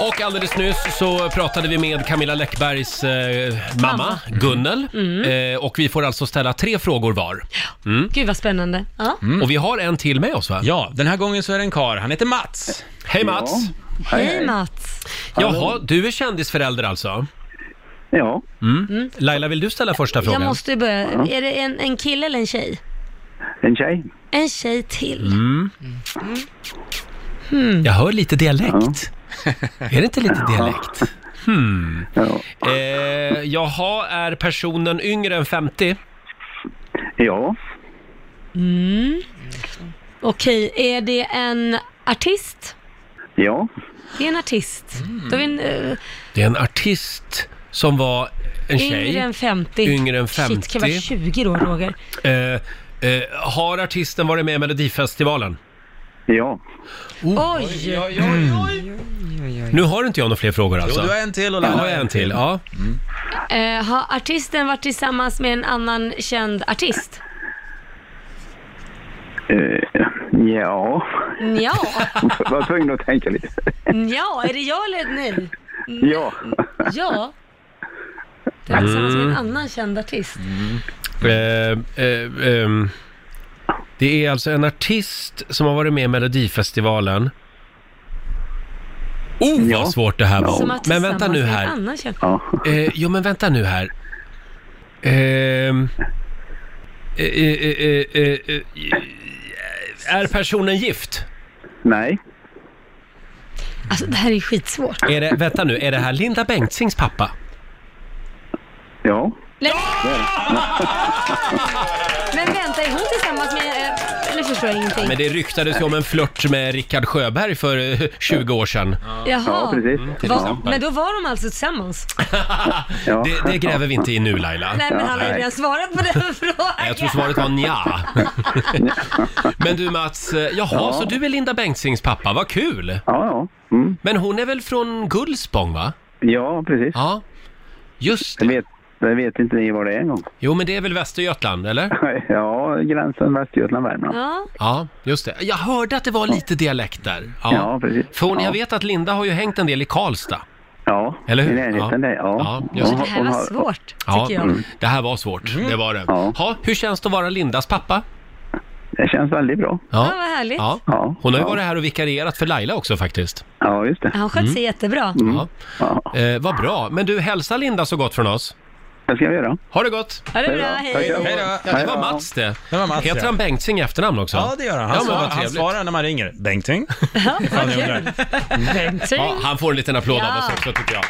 S1: Och alldeles nyss så pratade vi med Camilla Läckbergs eh, mamma, Gunnel.
S2: Mm.
S1: Eh, och vi får alltså ställa tre frågor var. Mm.
S2: Gud vad spännande. Ja.
S1: Och vi har en till med oss va?
S5: Mm. Ja, den här gången så är det en kar. Han heter Mats.
S1: Hej Mats!
S2: Hej Mats.
S1: Jaha, du är kändisförälder alltså? Mm.
S10: Ja,
S1: Laila, vill du ställa första
S2: Jag
S1: frågan?
S2: måste ju börja. Är det en, en kille eller en tjej?
S10: en tjej.
S2: En tjej till.
S1: Mm.
S2: Hmm.
S1: Jag hör lite dialekt. Är det inte lite dialekt? Hmm.
S10: Ja,
S1: Eh, jaha, är personen yngre än 50?
S10: ja.
S2: Mm. Okej, är det en artist?
S10: ja.
S2: Det är en artist.
S1: Mm.
S2: Då är vi en, eh,
S1: Det är en artist som var en tjej.
S2: yngre än 50.
S1: Yngre än
S2: Shit, kan
S1: 50.
S2: vara 20 då Roger.
S1: Eh, eh, har artisten varit med i Melodifestivalen?
S10: ja.
S1: Oh.
S2: Oj!
S5: Oj, oj, oj.
S1: Nu har inte jag några fler frågor
S5: Jo,
S1: alltså.
S5: du har en till Mm. och
S1: Jag har
S5: Laila
S1: jag en till. Ja.
S2: Eh, har artisten varit tillsammans med en annan känd artist?
S10: Eh, ja.
S2: Ja.
S10: Var tvungen att tänka lite.
S2: ja, är det jag eller nej?
S10: Ja.
S2: Ja. Den är tillsammans med en
S1: Mm.
S2: annan känd artist.
S1: Eh, eh, ehm. det är alltså en artist som har varit med i Melodifestivalen. Oh, vad
S10: Ja.
S1: svårt det här
S2: Som
S1: var.
S2: har
S1: Men vänta
S2: tillsammans
S1: nu
S2: med en
S1: här.
S2: Annan känd...
S10: Ja.
S1: Eh, jo, men vänta nu här. Ehm. Eh, eh, eh, eh, eh, eh, är personen gift?
S10: Nej.
S2: Alltså det här är ju skitsvårt.
S1: Är det, vänta nu, är det här Linda Bengtzings pappa?
S10: Ja.
S2: Men vänta, är hon tillsammans med... eh, Nu förstår jag ingenting.
S1: Men det ryktades ju om en flört med Rickard Sjöberg för eh, 20 år sedan.
S10: Ja,
S2: Jaha.
S1: Mm,
S2: Mm,
S10: precis.
S2: Va,
S10: Ja.
S2: men då var de alltså tillsammans?
S10: Ja.
S1: Det, det gräver vi inte i nu Laila.
S2: Nej, men han har ju
S10: nej.
S2: redan svarat på den
S1: Nej,
S2: frågan.
S1: Jag tror svaret var nja. Men du Mats, eh, jaha,
S10: Ja.
S1: så du är Linda Bengtzings pappa, vad kul!
S10: Ja, ja. Mm.
S1: Men hon är väl från Gullspång va?
S10: Ja, precis.
S1: Ja. Just
S10: Det
S1: det.
S10: vet, det vet inte ni vad det är en gång.
S1: Jo men det är väl Västergötland, eller?
S10: Ja, gränsen Västergötland-Värmland.
S2: Ja,
S1: Ja, just det. Jag hörde att det var lite dialekt där.
S10: Ja, precis.
S1: För hon,
S10: Ja.
S1: jag vet att Linda har ju hängt en del i Karlstad.
S10: Ja,
S1: Eller hur?
S10: i närheten
S1: Ja.
S10: där. Ja.
S1: Ja, just det.
S2: det här
S10: Hon
S2: var
S10: har- Mm.
S2: svårt, tycker
S1: Ja,
S2: jag.
S1: det här var svårt. Det var det.
S10: Ja.
S1: Ha, hur känns det att vara Lindas pappa?
S10: Det känns väldigt bra.
S2: Ja, vad härligt.
S1: Ja.
S10: Ja.
S1: Hon har ju
S10: Ja.
S1: varit här och vikarierat för Laila också faktiskt. Mm.
S10: Ja, just det.
S2: Han sköt sig jättebra.
S1: Ja.
S10: Ja.
S1: Eh, vad bra. Men du, hälsa Linda så gott från oss.
S10: Det ska vi göra.
S1: Ha det gott!
S2: Ha det bra,
S10: Tack
S2: hej.
S10: ska ni ha.
S5: Hej då.
S1: Ja, det
S10: Hej
S1: var
S10: då.
S1: Mats det.
S5: Det var Mats,
S1: Heter
S5: ja.
S1: han Bengtzing i efternamn också?
S5: Ja, det gör han. Han,
S1: Ja, men
S5: svarar,
S1: vad
S5: han
S1: trevligt.
S5: svarar när man ringer. Bengting. Ifall ni undrar.
S1: Mm. Ja, han får en liten applåd
S2: Ja. Ah.
S1: av oss också tycker jag.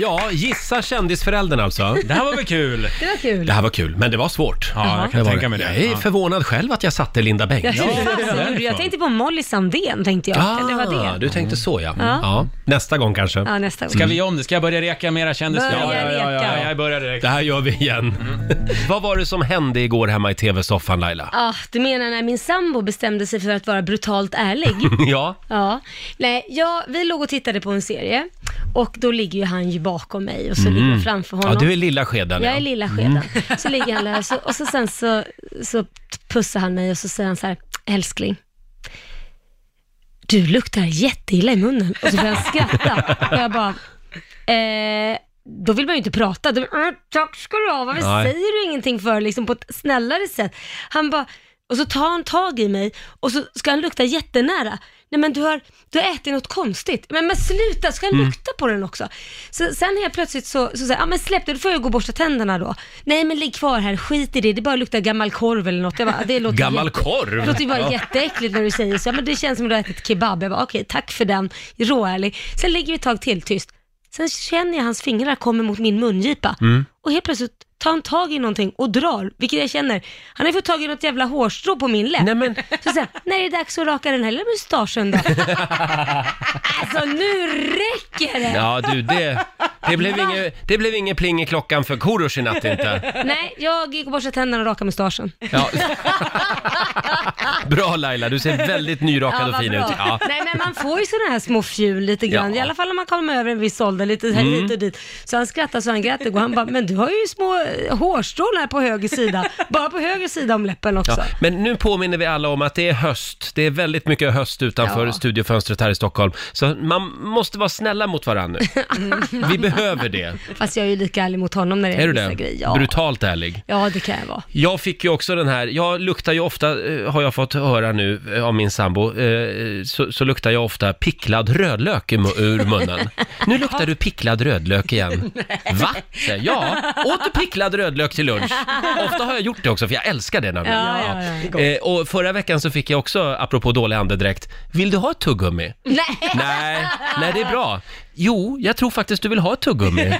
S1: Ja, gissa kändisföräldern alltså.
S5: Det här var väl kul?
S2: Det var kul.
S1: Det här var kul, men det var svårt.
S5: Ja, jag kan
S1: var
S5: tänka mig det.
S1: Jag är
S5: Ja.
S1: förvånad själv att jag satte Linda
S2: Ja,
S1: Bengtzing.
S2: hur
S5: det är
S2: fasen gjorde
S5: därifrån.
S2: jag? Jag tänkte på Molly Sandén, tänkte jag. Kan det vara det?
S1: Ah,
S2: Mm.
S1: du tänkte så ja. ja. Nästa gång kanske.
S2: Ja, nästa gång.
S5: Ska vi göra om det? Ska jag börja reka med era kändisar?
S2: Börja reka.
S5: jag börjar direkt. Mm.
S1: Det här gör vi igen. Vad var det som hände igår hemma i tv-soffan Laila?
S2: Ah, du menar när min sambo bestämde sig för att vara brutalt ärlig?
S1: Ja,
S2: ja. Nej, ja, vi låg och tittade på en serie och då ligger ju han ju bakom mig och så ligger jag framför honom.
S1: Mm. ja du är lilla Mm. skeden
S2: Jag är
S1: ja.
S2: lilla skeden. Så ligger han där och så, och så sen så, så pussar han mig och så säger han så här, älskling, du luktar jätteilla i munnen. Och så börjar han skratta. Och jag bara, eh, då vill man ju inte prata. Då, "Mm, tack ska du ha, varför
S1: Nej.
S2: säger du ingenting för liksom på ett snällare sätt? Han bara, och så tar han tag i mig och så ska han lukta jättenära. Nej men du har, du har ätit något konstigt. Men, men sluta, ska han lukta på den också? Så, sen helt plötsligt så, så säger han, ja men släpp det, då får jag gå och borsta tänderna då. Nej men ligg kvar här, skit i det, det bara luktar gammal korv eller något. Jag bara, det låter
S1: Gammal
S2: jätte- det
S1: korv.
S2: låter ju bara jätteäckligt när du säger så. Ja, Men det känns som att du har ätit kebab. Jag bara, okej, tack för den.
S1: Mm.
S2: Råärlig. Sen ligger vi ett tag till tyst. Sen känner jag hans fingrar komma mot min mungipa. och helt plötsligt tar han tag i någonting och drar, vilket jag känner. Han har ju fått tag i något jävla hårstrå på min läpp. Nej,
S1: men...
S2: Så säger han, när är det dags att raka den här lilla mustaschen då? alltså nu räcker det!
S1: Ja du, det, det, blev inget, det blev inget pling i klockan för Korosh i natt inte.
S2: Nej, jag gick och borstade tänderna och rakade mustaschen.
S1: Ja. Bra Laila, du ser väldigt nyrakad och
S2: vad
S1: fin
S2: bra.
S1: ut. Ja.
S2: Nej, men man får ju sådana här små fjul lite grann,
S1: Ja.
S2: i alla fall när man kommer över en viss ålder, lite här
S1: Mm.
S2: hit och dit. Så han skrattar så han grät och han bara, men du har ju små eh, hårstrån här på höger sida, bara på höger sida om läppen också.
S1: Ja, men nu påminner vi alla om att det är höst. Det är väldigt mycket höst utanför
S2: Ja.
S1: studiofönstret här i Stockholm. Så man måste vara snälla mot varandra nu. Vi behöver det.
S2: Fast jag är ju lika ärlig mot honom när det är,
S1: Är du
S2: vissa
S1: det?
S2: grejer. Ja.
S1: Brutalt ärlig.
S2: ja, det kan jag vara.
S1: Jag fick ju också den här, jag luktar ju ofta, eh, har jag fått höra nu eh, av min sambo, eh, så, så luktar jag ofta picklad rödlök i mu- ur munnen. Nu luktar du picklad rödlök igen. Va? säger jag. Ja, åt du picklad rödlök till lunch? Ofta har jag gjort det också, för jag älskar det nämligen.
S2: Ja, ja, ja.
S1: Ja. Eh, och förra veckan så fick jag också, apropå dålig andedräkt, vill du ha ett tuggummi?
S2: Nej.
S1: Nej, nej det är bra. Jo, jag tror faktiskt du vill ha ett tuggummi.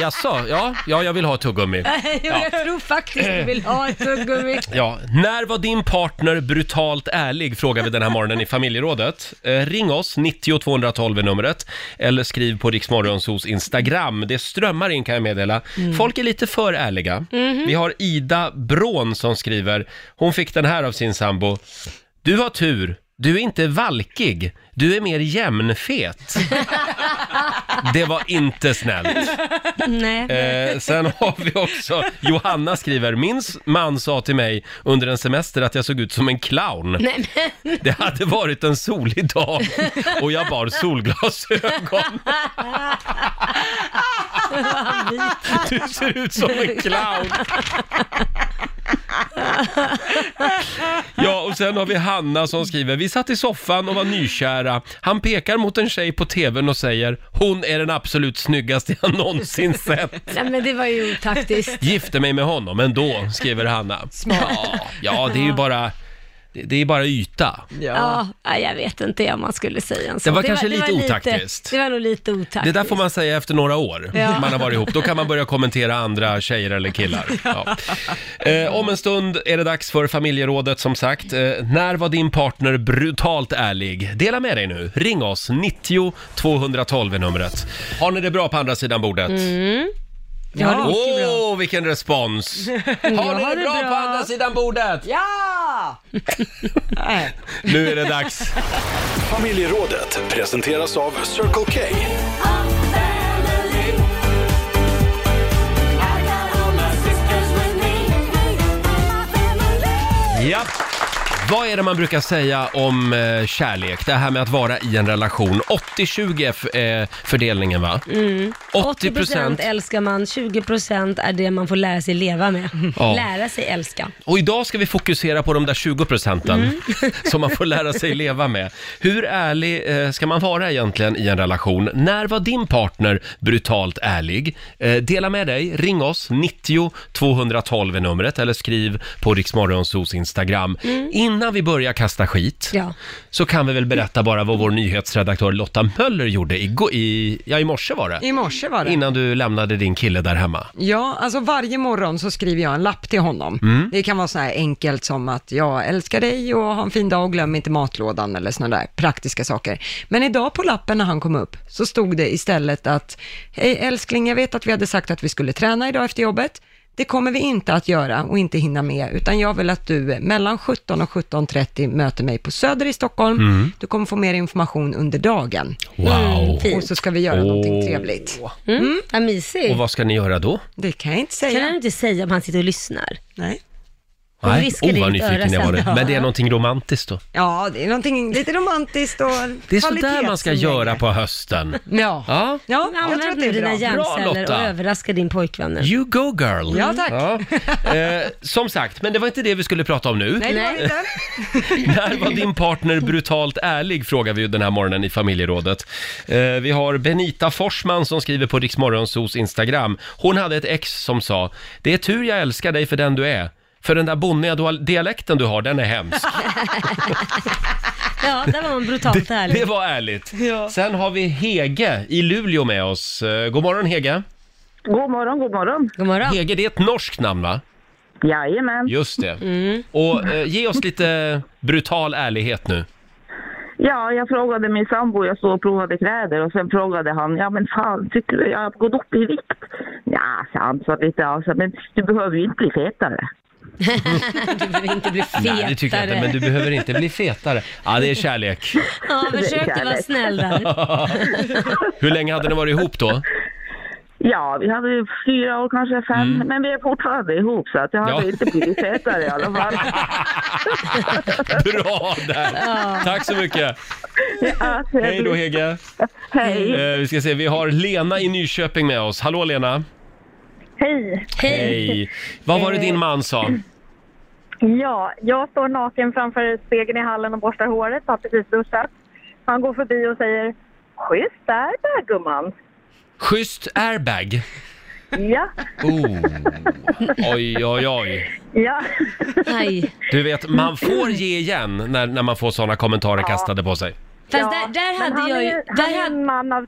S1: Jaså, ja, ja, jag vill ha ett tuggummi.
S2: Jo,
S1: Ja.
S2: Jag tror faktiskt du vill ha ett tuggummi.
S1: Ja, när var din partner brutalt ärlig? Frågar vi den här morgonen i familjerådet. Eh, ring oss, 90 212 är numret. Eller skriv på Riksmorgonsos Instagram. Det strömmar in kan jag meddela.
S11: Mm.
S1: Folk är lite för ärliga.
S11: Mhm.
S1: Vi har Ida Brån som skriver, hon fick den här av sin sambo. Du har tur, du är inte valkig, du är mer jämnfet. Det var inte snällt.
S2: Nej.
S1: Eh, sen har vi också, Johanna skriver, min s- man sa till mig under en semester att jag såg ut som en clown.
S2: Nej, men...
S1: Det hade varit en solig dag och jag bar solglasögon. Du ser ut som en clown. Ja, och sen har vi Hanna som skriver, vi satt i soffan och var nykära. Han pekar mot en tjej på tvn och säger, hon är den absolut snyggaste jag någonsin sett.
S2: Nej, men det var ju otaktiskt.
S1: Gifte mig med honom ändå, skriver Hanna. Ja, ja, det är ju bara, det, det är bara yta.
S2: Ja. ja, jag vet inte om man skulle säga en
S1: Det
S2: sån.
S1: var kanske lite otaktiskt.
S2: det var nog lite otaktiskt.
S1: Det där får man säga efter några år,
S2: Ja.
S1: man har varit ihop. Då kan man börja kommentera andra tjejer eller killar. Ja. Eh, om en stund är det dags för familjerådet som sagt. Eh, när var din partner brutalt ärlig? Dela med dig nu. Ring oss, 90 212 är numret. Har ni det bra på andra sidan bordet?
S2: Mm.
S1: Åh,
S2: Ja.
S1: oh, vilken respons! Har ni det bra på andra sidan bordet?
S11: Ja!
S1: Nu är det dags.
S4: Familjerådet presenteras av Circle K.
S1: Ja. Vad är det man brukar säga om eh, kärlek? Det här med att vara i en relation. 80-20 är f- eh, fördelningen va?
S2: Mm.
S1: 80 procent.
S2: älskar man, 20 procent är det man får lära sig leva med.
S1: Ja.
S2: Lära sig älska.
S1: Och idag ska vi fokusera på de där 20 procenten
S3: Mm.
S1: som man får lära sig leva med. Hur ärlig eh, ska man vara egentligen i en relation? När var din partner brutalt ärlig? Eh, dela med dig, ring oss, 90 212 är numret eller skriv på Riksmorgonsos Instagram.
S3: Mm.
S1: Innan vi börjar kasta skit så kan vi väl berätta bara vad vår nyhetsredaktör Lotta Möller gjorde igår, i, ja i morse var det.
S3: I morse var det.
S1: Innan du lämnade din kille där hemma.
S3: Ja, alltså varje morgon så skriver jag en lapp till honom.
S1: Mm.
S3: Det kan vara så här enkelt som att jag älskar dig och ha en fin dag och glöm inte matlådan eller sådana där praktiska saker. Men idag på lappen när han kom upp så stod det istället att Hej älskling, jag vet att vi hade sagt att vi skulle träna idag efter jobbet. Det kommer vi inte att göra och inte hinna med, utan jag vill att du mellan 17 och 17.30 möter mig på Söder i Stockholm.
S11: Mm.
S3: Du kommer få mer information under dagen.
S1: Wow. Mm,
S3: och så ska vi göra någonting
S1: Åh.
S3: trevligt.
S2: Mm. Vad mysigt.
S1: Och vad ska ni göra då?
S3: Det kan jag inte säga.
S2: Kan han inte säga om han sitter och lyssnar?
S3: Nej.
S2: Hon
S1: Nej,
S2: viskar
S1: oh,
S2: i
S1: vad
S2: ditt öra
S1: nyfiken jag var nu.
S2: sen.
S1: Men det är någonting romantiskt då.
S3: Ja, det är någonting lite romantiskt och
S1: Det är sådär man ska göra på hösten.
S3: Ja.
S1: Ja.
S3: Ja, jag
S2: Använd
S3: tror att det
S2: nu
S3: är
S2: dina
S3: bra.
S1: Bra,
S2: hjärnceller
S1: Lotta.
S2: och överraska din pojkvän nu.
S1: You go girl!
S2: Ja, tack.
S1: Eh, som sagt, men det var inte det vi skulle prata om nu.
S2: Nej, det var det inte.
S1: När var din partner brutalt ärlig? Frågar vi ju den här morgonen i familjerådet. Eh, vi har Benita Forsman som skriver på Riksmorgonsos Instagram. Hon hade ett ex som sa, det är tur jag älskar dig för den du är. För den där bonniga dual- dialekten du har, den är hemsk.
S2: Ja, där var man brutalt ärlig.
S1: Det var ärligt. Sen har vi Hege i Luleå med oss. Eh, God morgon Hege!
S11: God morgon, god morgon.
S2: God morgon.
S1: Hege, det är ett norskt namn va?
S11: Jajamän.
S1: Just det.
S2: Mm.
S1: Och eh, ge oss lite brutal ärlighet nu.
S11: Ja, jag frågade min sambo, jag stod och provade kläder och sen frågade han, ja men fan, tycker du jag har gått upp i vikt? Ja, sa han, så lite, alltså, men du behöver ju inte bli fetare.
S2: Du behöver inte bli fetare.
S1: Nej, det tycker jag inte, men du behöver inte bli fetare. Ja, det är kärlek.
S2: Ja, försök att vara snäll där.
S1: Hur länge hade ni varit ihop då?
S11: Ja, vi hade ju fyra år, kanske fem, men vi är fortfarande ihop så att jag har
S1: Mm. Ja.
S11: inte blivit fetare i alla fall.
S1: Bra där!
S11: Ja.
S1: Tack så mycket!
S11: Ja,
S1: Hej då Hege!
S11: Hej.
S1: Eh, vi ska se, vi har Lena i Nyköping med oss. Hallå Lena!
S12: Hej!
S1: Vad var det din man sa?
S12: Ja, jag står naken framför spegeln i hallen och borstar håret. Har precis duschat. Han går förbi och säger Schysst där, där gumman.
S1: Schysst airbag.
S12: Ja,
S1: Oh. Oj, oj, oj.
S12: ja.
S2: Aj.
S1: Du vet, man får ge igen när, när man får sådana kommentarer kastade på sig.
S12: Fast
S2: där,
S12: hade han
S2: jag ju-
S12: Är, han, är en man av,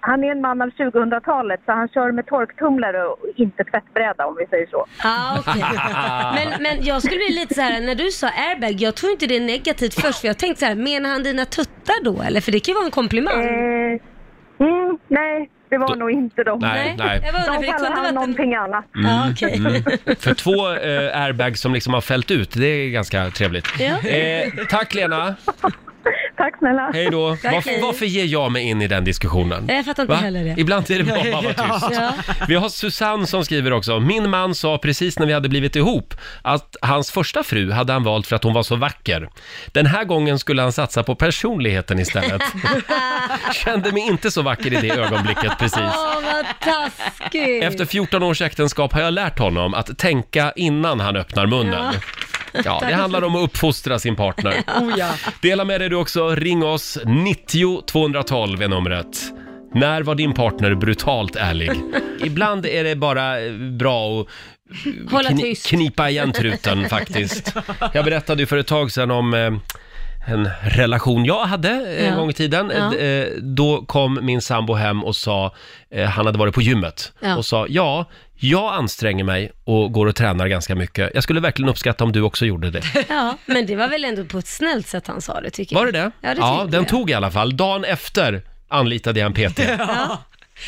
S12: han är en man av 2000-talet så han kör med torktumlare och inte tvättbräda om vi säger så.
S2: Ah, okej. men, men jag skulle bli lite så här, när du sa airbag, jag tror inte det är negativt först, för jag tänkte så här, menar han dina tuttar då eller? För det kan ju vara en komplimang.
S12: Eh, mm, nej, det var nog inte dem.
S1: Nej, nej.
S12: Jag var undrar, för det kunde varit någonting annat.
S1: Mm, mm. För två eh, airbags som liksom har fällt ut, det är ganska trevligt.
S12: Ja.
S1: Eh, tack Lena!
S12: Tack snälla.
S1: Hej då!
S2: Tack, hej.
S1: Varför, varför ger jag mig in i den diskussionen?
S2: Jag fattar inte
S1: Va?
S2: heller det.
S1: Ibland är det bra att vara tyst.
S2: Ja.
S1: Vi har Susanne som skriver också. Min man sa precis när vi hade blivit ihop att hans första fru hade han valt för att hon var så vacker. Den här gången skulle han satsa på personligheten istället. Kände mig inte så vacker i det ögonblicket precis.
S2: Åh, vad taskigt.
S1: Efter 14 års äktenskap har jag lärt honom att tänka innan han öppnar munnen.
S2: Ja.
S1: Ja, det handlar om att uppfostra sin partner.
S2: Oh, ja.
S1: Dela med dig du också. Ring oss. 90 212 är numret. När var din partner brutalt ärlig? Ibland är det bara eh, bra att
S2: Hålla
S1: kni-
S2: tyst.
S1: knipa igen truten faktiskt. Jag berättade ju för ett tag sedan om eh, en relation jag hade eh, en
S13: Ja.
S1: gång i tiden.
S13: Ja.
S1: Eh, eh, Då kom min sambo hem och sa, eh, han hade varit på gymmet,
S13: Ja.
S1: och sa ja, jag anstränger mig och går och tränar ganska mycket. Jag skulle verkligen uppskatta om du också gjorde det.
S2: ja, men det var väl ändå på ett snällt sätt han sa det tycker jag.
S1: Var det det?
S2: Ja, det tycker
S1: den
S2: jag.
S1: tog i alla fall. Dagen efter anlitade jag en PT.
S2: Ja.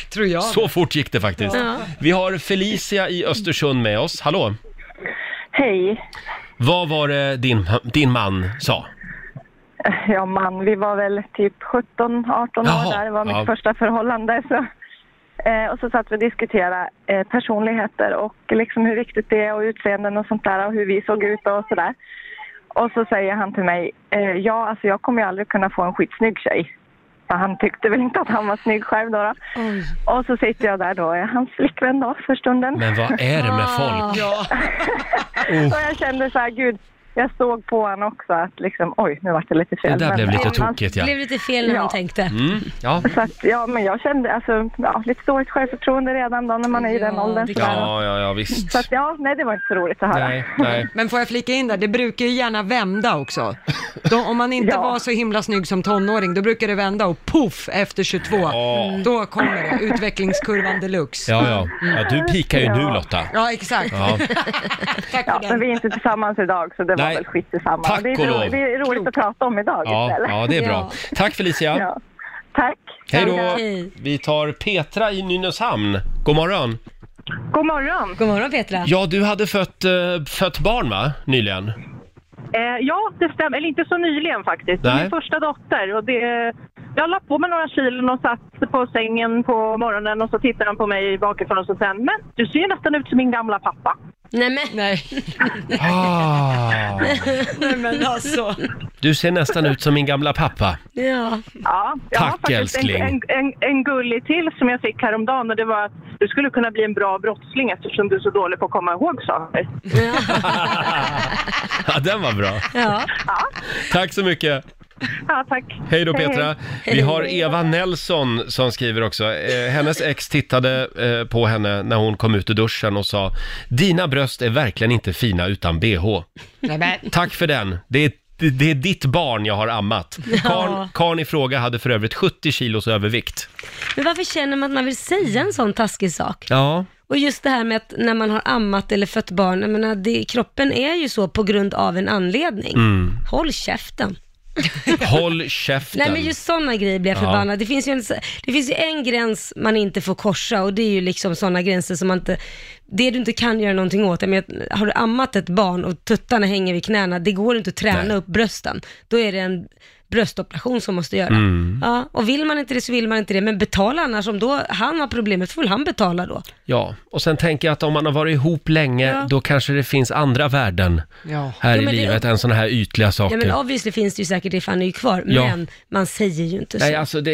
S3: Tror jag.
S1: Så fort gick det faktiskt.
S3: Ja.
S1: Vi har Felicia i Östersund med oss. Hallå!
S12: Hej.
S1: Vad var det din, din man sa?
S12: Ja, man, vi var väl typ 17-18 år
S1: Jaha,
S12: där. Det var mitt
S1: ja.
S12: första förhållande. Så. Eh, och så satt vi och diskuterade eh, personligheter och liksom hur viktigt det är och utseenden och sånt där och hur vi såg ut och sådär. Och så säger han till mig, eh, ja alltså jag kommer ju aldrig kunna få en skitsnygg tjej. För han tyckte väl inte att han var snygg själv då. då. Och så sitter jag där då, är hans flickvän då för stunden.
S1: Men vad är det med folk? Oh.
S12: Och jag kände så här, gud, jag såg på honom också att liksom, oj, nu vart det lite fel.
S1: Det där
S12: Men-
S1: blev lite
S12: men-
S1: tokigt, ja.
S2: Blev lite fel när
S12: Ja.
S2: han tänkte.
S1: Mm, ja.
S12: Så att, ja, men jag kände alltså, ja, lite dåligt självförtroende redan då när man är i den åldern.
S1: Ja,
S12: sådär.
S1: ja, ja, visst.
S12: Så att, ja, nej, det var inte så roligt att höra.
S1: Nej, nej.
S3: Men får jag flika in där, det brukar ju gärna vända också. Då, om man inte var så himla snygg som tonåring, då brukar det vända och poff efter 22. Då kommer det, utvecklingskurvan deluxe.
S1: Ja, ja. ja du pikar ju nu
S12: Ja.
S1: Lotta.
S3: Ja, exakt.
S1: Ja.
S12: ja, men vi är inte tillsammans idag, så det var
S1: Nej.
S12: väl skit tillsammans.
S1: Tack
S12: det, är
S1: och
S12: ro-
S1: lov.
S12: det är roligt att prata om idag
S1: Ja,
S12: istället.
S1: ja, det är bra. Tack Felicia.
S12: Ja. Tack.
S1: Hej då.
S12: Hej.
S1: Vi tar Petra i Nynäshamn. God morgon.
S14: God morgon.
S2: God morgon Petra.
S1: Ja, du hade fött, eh, fött barn va, nyligen?
S14: Eh, ja, det stämmer. Eller inte så nyligen faktiskt.
S1: Nej.
S14: Min första dotter. Och det, jag la på mig några kilon och satt på sängen på morgonen och så tittade han på mig bakifrån och så sen, men du ser ju nästan ut som min gamla pappa.
S2: Nej men.
S3: Nej.
S1: Ah.
S3: Nej men alltså.
S1: Du ser nästan ut som min gamla pappa.
S2: Ja.
S14: ja jag har
S1: Tack,
S14: faktiskt
S1: älskling.
S14: En, en, en, en gullig till som jag fick häromdagen och det var att du skulle kunna bli en bra brottsling eftersom du är så dålig på att komma ihåg saker.
S1: Ja, den var bra.
S2: Ja.
S1: Tack så mycket.
S14: Ja, tack.
S1: Hej då Petra.
S14: Hej.
S1: Vi har Eva Nelson som skriver också. Eh, hennes ex tittade eh, på henne när hon kom ut ur duschen och sa Dina bröst är verkligen inte fina utan bh.
S3: Nej, men.
S1: Tack för den. Det är det, det är ditt barn jag har ammat.
S2: Ja.
S1: Karn, karn i fråga hade för övrigt 70 kilos övervikt.
S2: Men varför känner man att man vill säga en sån taskig sak?
S1: Ja.
S2: Och just det här med att när man har ammat eller fött barn, jag menar, det, kroppen är ju så på grund av en anledning.
S1: Mm.
S2: Håll käften.
S1: Håll käften.
S2: Nej men just sådana grejer blir jag
S1: Ja.
S2: förbannad. Det, finns ju en, det finns ju en gräns man inte får korsa och det är ju liksom sådana gränser som man inte, det du inte kan göra någonting åt. Jag menar, har du ammat ett barn och tuttarna hänger vid knäna, det går inte att träna upp brösten. Då är det en bröstoperation som måste göras.
S1: Mm.
S2: Ja, och vill man inte det så vill man inte det, men betala annars. Om då han har problemet får väl han betala då.
S1: Ja, och sen tänker jag att om man har varit ihop länge,
S2: Ja.
S1: då kanske det finns andra värden
S2: Ja.
S1: här
S2: Ja,
S1: i
S2: men det-
S1: livet än sådana här ytliga
S2: Ja
S1: saker.
S2: men obviously finns det ju säkert det, för han är ju kvar,
S1: Ja.
S2: men man säger ju inte så.
S1: Nej, alltså det...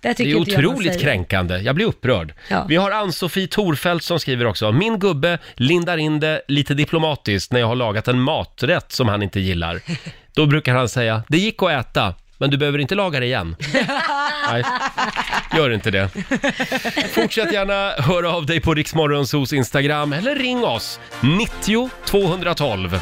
S2: Där
S1: Det
S2: tycker
S1: är
S2: inte jag man
S1: otroligt
S2: säger.
S1: kränkande. Jag blir upprörd.
S2: Ja.
S1: Vi har Ann-Sofie Torfelt som skriver också. Min gubbe lindar in det lite diplomatiskt när jag har lagat en maträtt som han inte gillar. Då brukar han säga, det gick att äta, men du behöver inte laga det igen. Nej, gör inte det. Fortsätt gärna höra av dig på Riksmorgonsos Instagram eller ring oss, 90 212.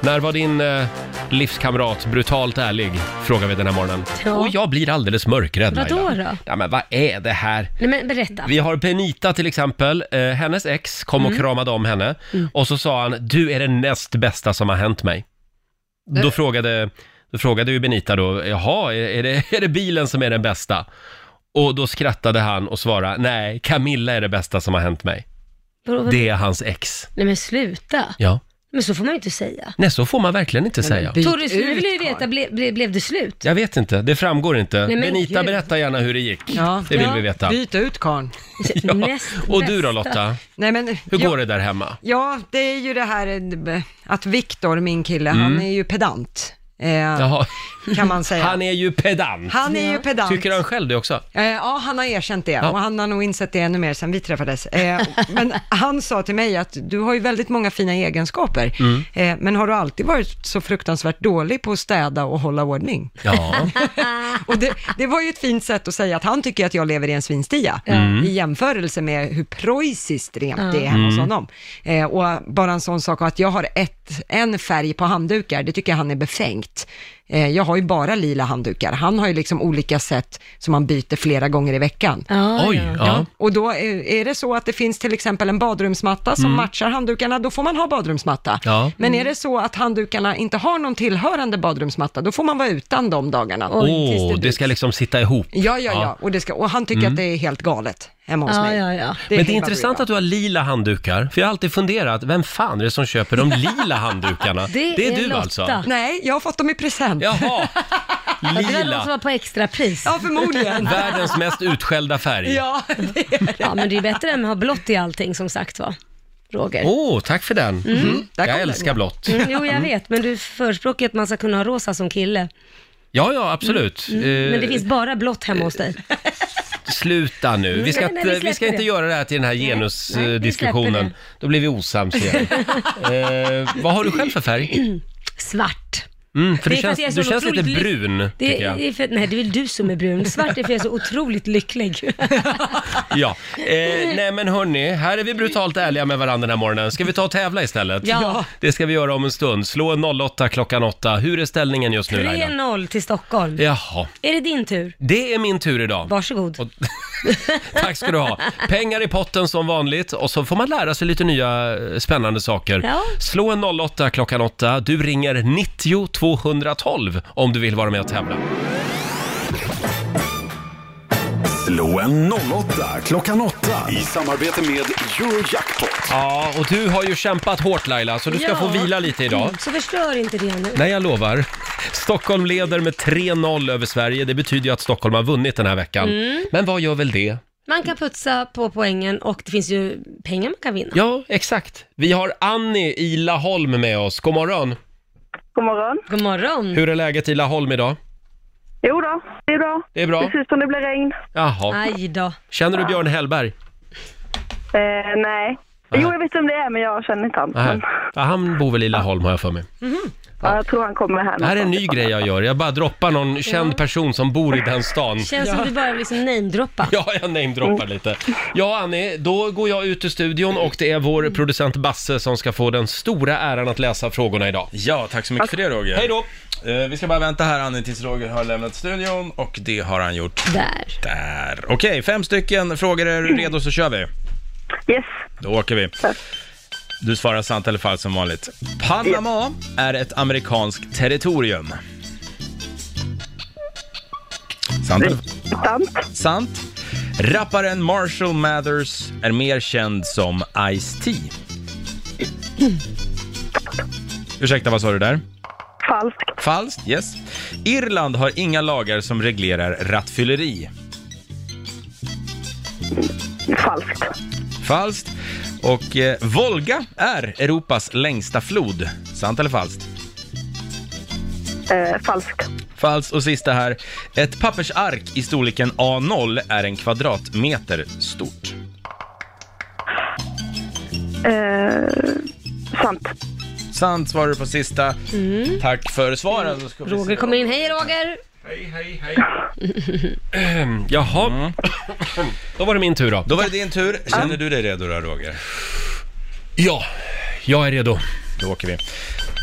S1: När var din eh, livskamrat brutalt ärlig? Frågar vi den här morgonen.
S2: Ja.
S1: Och jag blir alldeles mörkrädd
S2: Vadå
S1: Laila.
S2: då?
S1: Ja, men vad är det här?
S2: Nej men berätta.
S1: Vi har Benita till exempel. Eh, hennes ex kom och
S2: Mm.
S1: kramade om henne
S2: Mm.
S1: och så sa han “du är det näst bästa som har hänt mig”.
S2: Eh.
S1: Då frågade, då frågade ju Benita då “jaha, är, är, det, är det bilen som är den bästa?” Och då skrattade han och svarade “nej, Camilla är det bästa som har hänt mig”.
S2: Vadå, vad-
S1: Det är hans ex.
S2: Nej men sluta.
S1: Ja.
S2: Men så får man ju inte säga.
S1: Nej, så får man verkligen inte säga.
S2: Torres, nu vill jag ju veta, ble, ble, blev det slut?
S1: Jag vet inte, det framgår inte.
S2: Nej, men
S1: Benita,
S2: gud.
S1: berätta gärna hur det gick. Det vill
S3: Ja.
S1: vi veta.
S3: Byt ut karln.
S1: Ja. Och du då Lotta?
S3: Nej, men,
S1: Hur
S3: jag-
S1: går det där hemma?
S3: Ja, det är ju det här eh, att Viktor, min kille,
S1: Mm.
S3: han är ju pedant. Eh,
S1: Jaha.
S3: Kan man säga.
S1: Han är ju pedant.
S3: Han är ju pedant.
S1: Tycker han själv det också?
S3: Eh, Ja, han har erkänt det
S1: Ja.
S3: och han har nog insett det ännu mer sen vi träffades. Eh, Men han sa till mig att du har ju väldigt många fina egenskaper,
S1: Mm.
S3: eh, men har du alltid varit så fruktansvärt dålig på att städa och hålla ordning?
S1: Ja.
S3: och det, det var ju ett fint sätt att säga att han tycker att jag lever i en svinstia
S1: Mm.
S3: i jämförelse med hur preussiskt rent
S2: Ja.
S3: det är hemma hos
S1: Mm.
S3: honom. Eh, och bara en sån sak att jag har ett, en färg på handdukar, det tycker jag han är befängt. Eh, jag har ju bara lila handdukar. Han har ju liksom olika sätt som han byter flera gånger i veckan.
S1: Oj, ja. ja.
S3: Och då är, är det så att det finns till exempel en badrumsmatta som
S1: Mm.
S3: matchar handdukarna, då får man ha badrumsmatta.
S1: Ja.
S3: Men är det så att handdukarna inte har någon tillhörande badrumsmatta, då får man vara utan de dagarna.
S1: Åh, det ska liksom sitta ihop.
S3: Ja, ja, ja. Och, det ska, och han tycker
S1: Mm.
S3: att det är helt galet hemma hos
S2: Ja,
S3: mig.
S2: ja, ja.
S1: Men det är intressant att du har lila handdukar, för jag har alltid funderat, vem fan är det som köper de lila handdukarna? du alltså?
S3: Nej, jag har fått dem i present.
S1: Jaha,
S2: Ja, det var någon som
S1: lila.
S2: var på extrapris.
S3: Ja, förmodligen.
S1: Världens mest utskällda färg.
S3: Ja, det är det.
S2: Ja, men det är ju bättre än att ha blått i allting som sagt var. Roger.
S1: Åh, tack för den.
S2: Mm. Där kom
S1: Jag
S2: den,
S1: älskar blått.
S2: Mm, jo, jag vet, men du förespråkar ju att man ska kunna ha rosa som kille.
S1: Ja, ja, absolut. Eh,
S2: Mm. Men det finns bara blått hemma hos dig.
S1: Sluta nu. Vi ska,
S2: Mm. Nej, nej,
S1: inte,
S2: vi
S1: vi ska
S2: släpper
S1: inte
S2: det.
S1: göra det här till den här
S2: nej, vi släpper
S1: genusdiskussionen.
S2: det.
S1: Då blir vi osams igen. eh, vad har du själv för färg?
S2: Svart.
S1: Mm, för
S2: Det
S1: du
S2: är för att
S1: känns,
S2: jag är så
S1: du känns lite
S2: otroligt lik-
S1: brun,
S2: Det
S1: tycker
S2: är, det är
S1: jag.
S2: för, nej, det är väl du som är brun. Svart är för jag är så otroligt lycklig.
S1: Ja. Eh, nej men hörni, här är vi brutalt ärliga med varandra den här morgonen. Ska vi ta och tävla istället?
S2: Ja.
S1: Det ska vi göra om en stund. Slå en 08 klockan 8. Hur är ställningen just nu Laila?
S2: 3-0 till Stockholm.
S1: Jaha.
S2: Är det din tur?
S1: Det är min tur idag.
S2: Varsågod.
S1: Och, tack ska du ha. Pengar i potten som vanligt och så får man lära sig lite nya eh, spännande saker.
S2: Ja.
S1: Slå en 08 klockan 8. Du ringer 90 212 om du vill vara med och tävla.
S4: Slå en 08 klockan 8 i samarbete med Eurojackpot.
S1: Ja, och du har ju kämpat hårt Laila, så du ska
S2: Ja.
S1: få vila lite idag.
S2: Mm, Så förstör inte det nu.
S1: Nej, jag lovar. Stockholm leder med 3-0 över Sverige. Det betyder ju att Stockholm har vunnit den här veckan.
S2: Mm.
S1: Men vad gör väl det?
S2: Man kan putsa på poängen och det finns ju pengar man kan vinna.
S1: Ja, exakt. Vi har Annie i Laholm med oss. God morgon.
S2: God morgon. God morgon.
S1: Hur är läget i Laholm idag?
S2: Jo då, det är bra.
S1: Det är bra.
S12: Precis som det blir regn.
S1: Jaha.
S2: Aj då.
S1: Känner du Björn Hellberg?
S12: Eh, nej. Jo, jag vet om det är, men jag känner inte han.
S2: Mm.
S1: Nej. Ja, Han bor väl i Laholm har jag för mig.
S12: Ja, jag tror han kommer här
S1: Det här är en ny
S12: någonstans.
S1: grej jag gör. Jag bara droppar någon känd person som bor i den stan.
S2: Känns som du bara liksom namedroppa.
S1: Ja, jag namedroppar lite. Ja, Annie, då går jag ut ur studion och det är vår producent Basse som ska få den stora äran att läsa frågorna idag.
S5: Ja, tack så mycket för det Roger.
S1: Hej då!
S5: Eh, vi ska bara vänta här Annie tills Roger har lämnat studion och det har han gjort.
S2: Där.
S5: Där. Okej, fem stycken frågor. Är du redo så kör vi.
S12: Yes.
S5: Då åker vi. Du svarar sant eller falskt som vanligt. Panama är ett amerikanskt territorium. Sant eller
S12: Sant.
S5: Sant. Rapparen Marshall Mathers är mer känd som Ice-T.
S12: Mm.
S5: Ursäkta, vad sa du där?
S12: Falskt.
S5: Falskt, yes. Irland har inga lagar som reglerar rattfylleri.
S12: Falskt.
S5: Falskt. Och eh, Volga är Europas längsta flod. Sant eller falskt?
S12: Eh, falskt.
S5: Falskt. Och sista här. Ett pappersark i storleken A0 är en kvadratmeter stort.
S12: Eh, sant.
S5: Sant svarar du på sista.
S2: Mm.
S5: Tack för svaren. Då ska vi se.
S2: Roger kommer in. Hej Roger!
S8: Hej, hej, hej.
S1: Ehm, Jaha. Då var det min tur då.
S5: Mm. Då var det din tur. Känner du dig redo då, Roger?
S1: Ja, jag är redo.
S5: Då åker vi.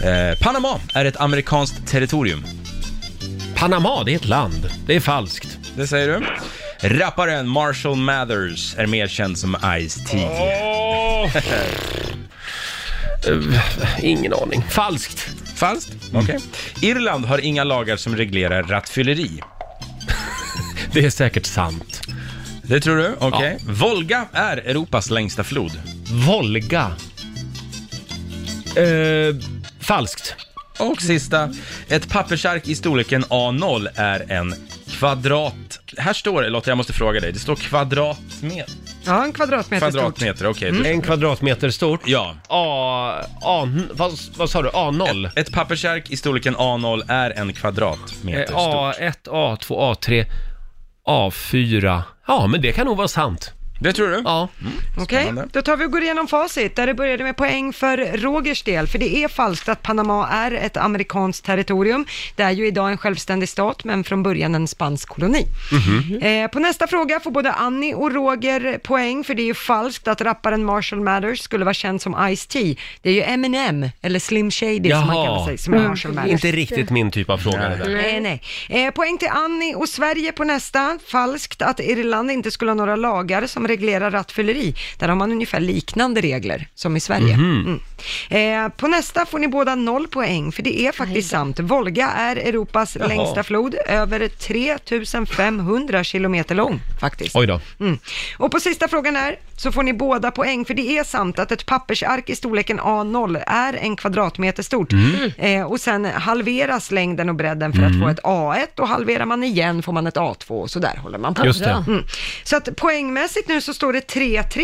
S5: Eh, Panama är ett amerikanskt territorium.
S1: Panama, det är ett land. Det är falskt.
S5: Det säger du. Rapparen Marshall Mathers är mer känd som Ice-T.
S1: Eh, Ingen aning. Falskt. Mm.
S5: Falskt? Okej. Irland har inga lagar som reglerar rattfylleri.
S1: Det är säkert sant.
S5: Det tror du? Okej. Volga är Europas längsta flod.
S1: Volga. Eh, falskt.
S5: Och sista. Ett pappersark i storleken A0 är en kvadrat... Här står det, Lotta, jag måste fråga dig. Det står kvadratmeter.
S3: Ja, en kvadratmeter stort.
S5: Kvadratmeter, okej. då-
S1: Mm. En kvadratmeter stort.
S5: Ja.
S1: A... A vad, vad sa du? A0?
S5: Ett pappersark i storleken A0 är en kvadratmeter
S1: Eh,
S5: stort.
S1: A1, A2, A3, A4. Ja, men det kan nog vara sant.
S5: Det tror du?
S1: Ja.
S3: Okej,
S5: Spännande.
S3: då tar vi och går igenom facit där det började med poäng för Rogers del, för det är falskt att Panama är ett amerikanskt territorium. Det är ju idag en självständig stat, men från början en spansk koloni.
S1: Mm-hmm. Mm.
S3: Eh, på nästa fråga får både Annie och Roger poäng, för det är ju falskt att rapparen Marshall Mathers skulle vara känd som Ice-T. Det är ju Eminem, eller Slim Shady som han kallar sig, som är Marshall Mathers.
S1: Mm. Inte riktigt min typ av fråga det där.
S3: Nej, nej. Eh, poäng till Annie och Sverige på nästa. Falskt att Irland inte skulle ha några lagar som reglerar rattfylleri. Där har man ungefär liknande regler som i Sverige. Mm. Eh, på nästa får ni båda noll poäng, för det är faktiskt sant. Volga är Europas längsta flod, över 3500 kilometer lång faktiskt.
S1: Oj då.
S3: Mm. Och på sista frågan här så får ni båda poäng för det är sant att ett pappersark i storleken A0 är en kvadratmeter stort
S1: Mm.
S2: Mm.
S3: eh, och sen halveras längden och bredden för att få ett A1 och halverar man igen får man ett A2 och så där håller man på.
S1: Just det.
S3: Mm. Så att poängmässigt nu så står det 3-3. Får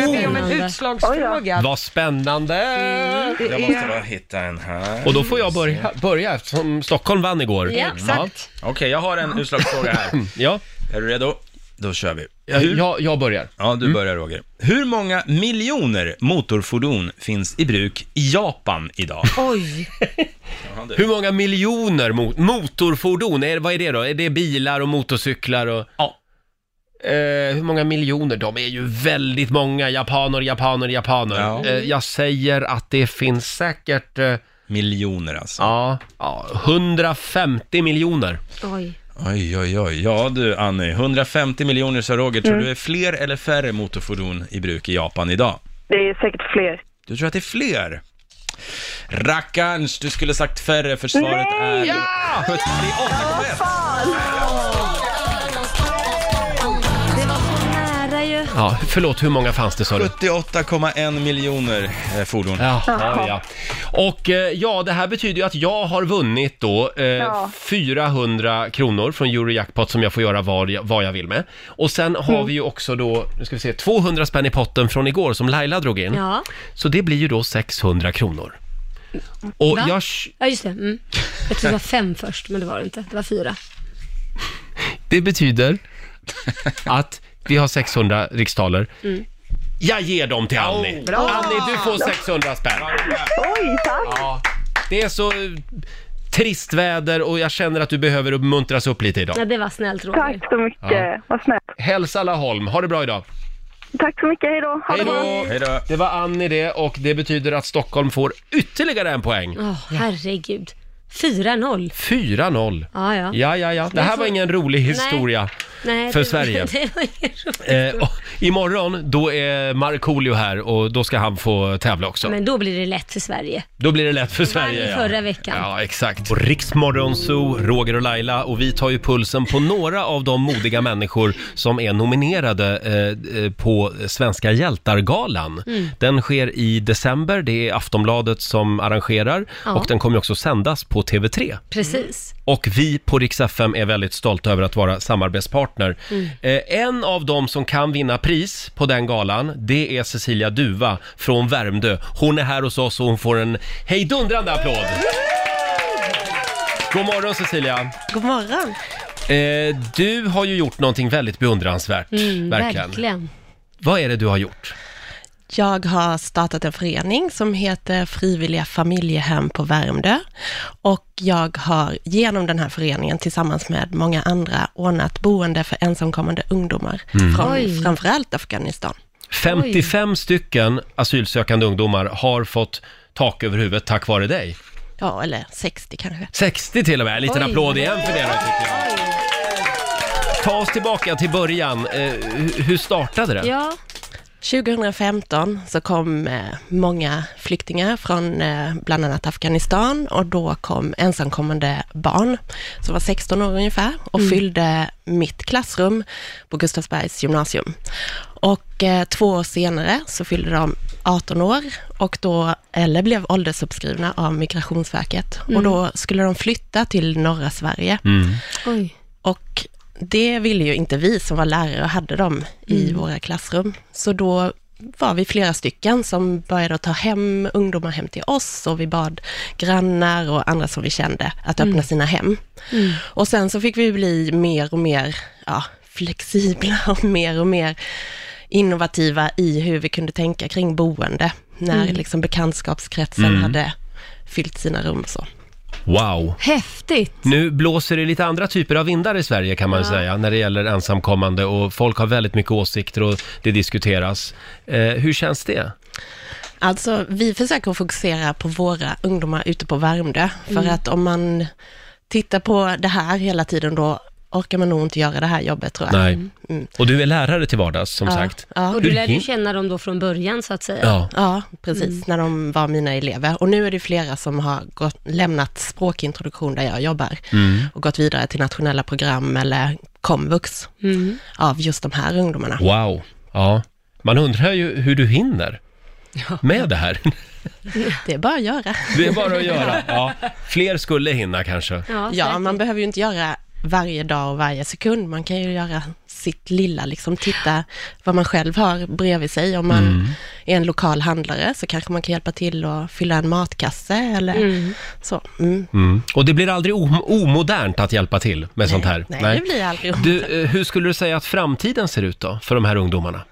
S3: jag be om en utslagsfråga?
S1: Vad spännande!
S3: Det
S5: Jag måste
S3: är...
S5: bara hitta en här.
S1: Och då får jag börja, börja eftersom Stockholm vann igår.
S2: Ja.
S3: Exakt.
S5: Okej, jag har en utslagsfråga här.
S1: Ja,
S5: Är du redo? Då kör vi.
S1: ja jag, jag börjar. Mm.
S5: Ja, du börjar Roger. Hur många miljoner motorfordon finns i bruk i Japan idag?
S2: Oj!
S1: Hur många miljoner mot, motorfordon, är, vad är det då? Är det bilar och motorcyklar och...
S5: Ja.
S1: Eh, hur många miljoner? De är ju väldigt många, japaner, japaner, japaner.
S5: Ja.
S1: Eh, jag säger att det finns säkert, eh,
S5: Miljoner alltså.
S1: ja, ja, 150 miljoner.
S2: Oj.
S5: Oj, oj, oj. Ja du Annie, 150 miljoner sa Roger.
S1: Mm.
S5: Tror du är fler eller färre motorfordon i bruk i Japan idag?
S12: Det är säkert fler.
S5: Du tror att det är fler? Rackarns, du skulle sagt färre för svaret är... Ja! 78,1!
S2: Det var så nära ju.
S1: Ja, förlåt, hur många fanns det sa du?
S5: 78,1 miljoner eh, fordon.
S1: Ja, ja, ja. Och eh, ja, det här betyder ju att jag har vunnit då eh, 400 kronor från Eurojackpot som jag får göra vad jag, vad jag vill med. Och sen har vi ju också då, nu ska vi se, 200 spänn i potten från igår som Laila drog in.
S2: Ja,
S1: Så det blir ju då 600 kronor. Och
S2: Va?
S1: jag,
S2: ja just det. Mm. Jag trodde det var fem först, men det var det inte. Det var fyra.
S1: det betyder att vi har 600 riksdaler. Jag ger dem till Annie. Annie, du får 600 spänn.
S12: Oj, tack!
S1: Ja, det är så eh, trist väder och jag känner att du behöver uppmuntras upp lite idag.
S2: Ja, det var snällt Roger.
S12: Tack så mycket. Vad snällt.
S1: Hälsa Laholm, ha det bra idag.
S12: Tack så mycket. Hej då. Ha det
S1: Hej
S12: bra.
S1: då!
S5: Hej då.
S1: Det var Annie det och det betyder att Stockholm får ytterligare en poäng.
S2: Åh, herregud. 4-0.
S1: 4-0.
S2: Ja, ja.
S1: Ja, ja, ja. Det här var ingen rolig historia
S2: Nej,
S1: för
S2: det-
S1: Sverige.
S2: Det var ingen rolig
S1: Eh, och imorgon, då är Markoolio här och då ska han få tävla också.
S2: Men då blir det lätt för Sverige.
S1: Då blir det lätt för Sverige.
S2: Varje
S1: ja.
S2: förra veckan.
S1: Ja, exakt. Och Riksmorgon Zoo, Roger och Laila och vi tar ju pulsen på några av de modiga människor som är nominerade eh, eh, på Svenska hjältargalan.
S13: Mm.
S1: Den sker i december, det är Aftonbladet som arrangerar
S2: Ja.
S1: och den kommer ju också sändas på TV3.
S2: Precis.
S1: Och vi på Rix FM är väldigt stolta över att vara samarbetspartner.
S2: Mm.
S1: Eh, en av dem som kan vinna pris på den galan, det är Cecilia Duva från Värmdö. Hon är här hos oss och hon får en hejdundrande applåd! God morgon Cecilia!
S15: God morgon.
S1: Eh, du har ju gjort någonting väldigt beundransvärt, Mm,
S15: Mm,
S1: verkligen. Vad är det du har gjort?
S15: Jag har startat en förening som heter Frivilliga familjehem på Värmdö och jag har genom den här föreningen tillsammans med många andra ordnat boende för ensamkommande ungdomar
S1: Mm.
S15: från
S1: Oj.
S15: framförallt Afghanistan.
S1: 55 stycken asylsökande ungdomar har fått tak över huvudet tack vare dig.
S15: Ja, eller 60 kanske.
S1: 60 till och med, en liten
S15: Oj.
S1: applåd igen för det då, tycker jag. Ta oss tillbaka till början, eh, hu- hur startade det?
S15: 2015 så kom eh, många flyktingar från eh, bland annat Afghanistan och då kom ensamkommande barn som var 16 år ungefär och
S16: Mm.
S15: fyllde mitt klassrum på Gustavsbergs gymnasium. Och eh, två år senare så fyllde de 18 år och då, eller blev åldersuppskrivna av Migrationsverket
S16: Mm.
S15: och då skulle de flytta till norra Sverige.
S1: Mm.
S2: Oj.
S15: Och det ville ju inte vi som var lärare och hade dem i
S16: Mm.
S15: våra klassrum. Så då var vi flera stycken som började att ta hem ungdomar hem till oss och vi bad grannar och andra som vi kände att öppna
S16: Mm.
S15: sina hem.
S16: Mm.
S15: Och sen så fick vi bli mer och mer ja, flexibla och mer och mer innovativa i hur vi kunde tänka kring boende när
S2: Mm.
S15: liksom bekantskapskretsen
S1: Mm.
S15: hade fyllt sina rum. Så.
S1: Wow!
S2: Häftigt.
S1: Nu blåser det lite andra typer av vindar i Sverige kan man
S2: Ja.
S1: säga, när det gäller ensamkommande och folk har väldigt mycket åsikter och det diskuteras. Eh, hur känns det?
S15: Alltså, vi försöker att fokusera på våra ungdomar ute på Värmdö, för
S16: Mm.
S15: att om man tittar på det här hela tiden, då orkar man nog inte göra det här jobbet tror jag.
S1: Nej.
S15: Mm.
S1: Och du är lärare till vardags, som sagt.
S2: Och du
S1: Hur
S2: lärde ju
S1: hin-
S2: känna dem då från början så att säga.
S1: Ja.
S15: Ja, precis,
S2: Mm.
S15: när de var mina elever. Och nu är det flera som har gått, lämnat språkintroduktion där jag jobbar
S16: Mm.
S15: och gått vidare till nationella program eller komvux
S2: Mm.
S15: av just de här ungdomarna.
S1: Wow! Ja. Man undrar ju hur du hinner med det här.
S15: Det är bara att göra.
S1: Det är bara att göra. Ja. Fler skulle hinna kanske.
S15: Ja, man behöver ju inte göra varje dag och varje sekund. Man kan ju göra sitt lilla, liksom titta vad man själv har bredvid sig. Om man
S16: Mm.
S15: är en lokal handlare så kanske man kan hjälpa till att fylla en matkasse eller så. Mm.
S1: Mm. Och det blir aldrig om- omodernt att hjälpa till med sånt här?
S15: nej, det blir aldrig
S1: Du, eh, hur skulle du säga att framtiden ser ut då, för de här ungdomarna?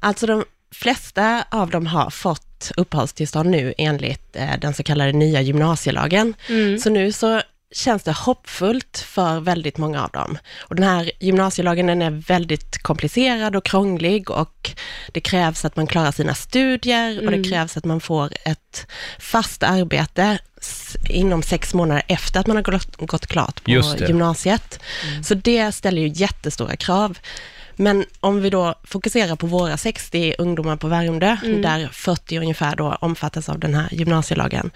S15: Alltså de flesta av dem har fått uppehållstillstånd nu enligt eh, den så kallade nya gymnasielagen.
S16: Mm.
S15: Så nu så känns det hoppfullt för väldigt många av dem. Och den här gymnasielagen den är väldigt komplicerad och krånglig och det krävs att man klarar sina studier och
S16: Mm.
S15: det krävs att man får ett fast arbete s- inom sex månader efter att man har gått, gått klart på
S16: Just det. Mm.
S15: gymnasiet. Så det ställer ju jättestora krav. Men om vi då fokuserar på våra 60 ungdomar på Värmdö,
S16: Mm.
S15: där 40 ungefär då omfattas av den här gymnasielagen,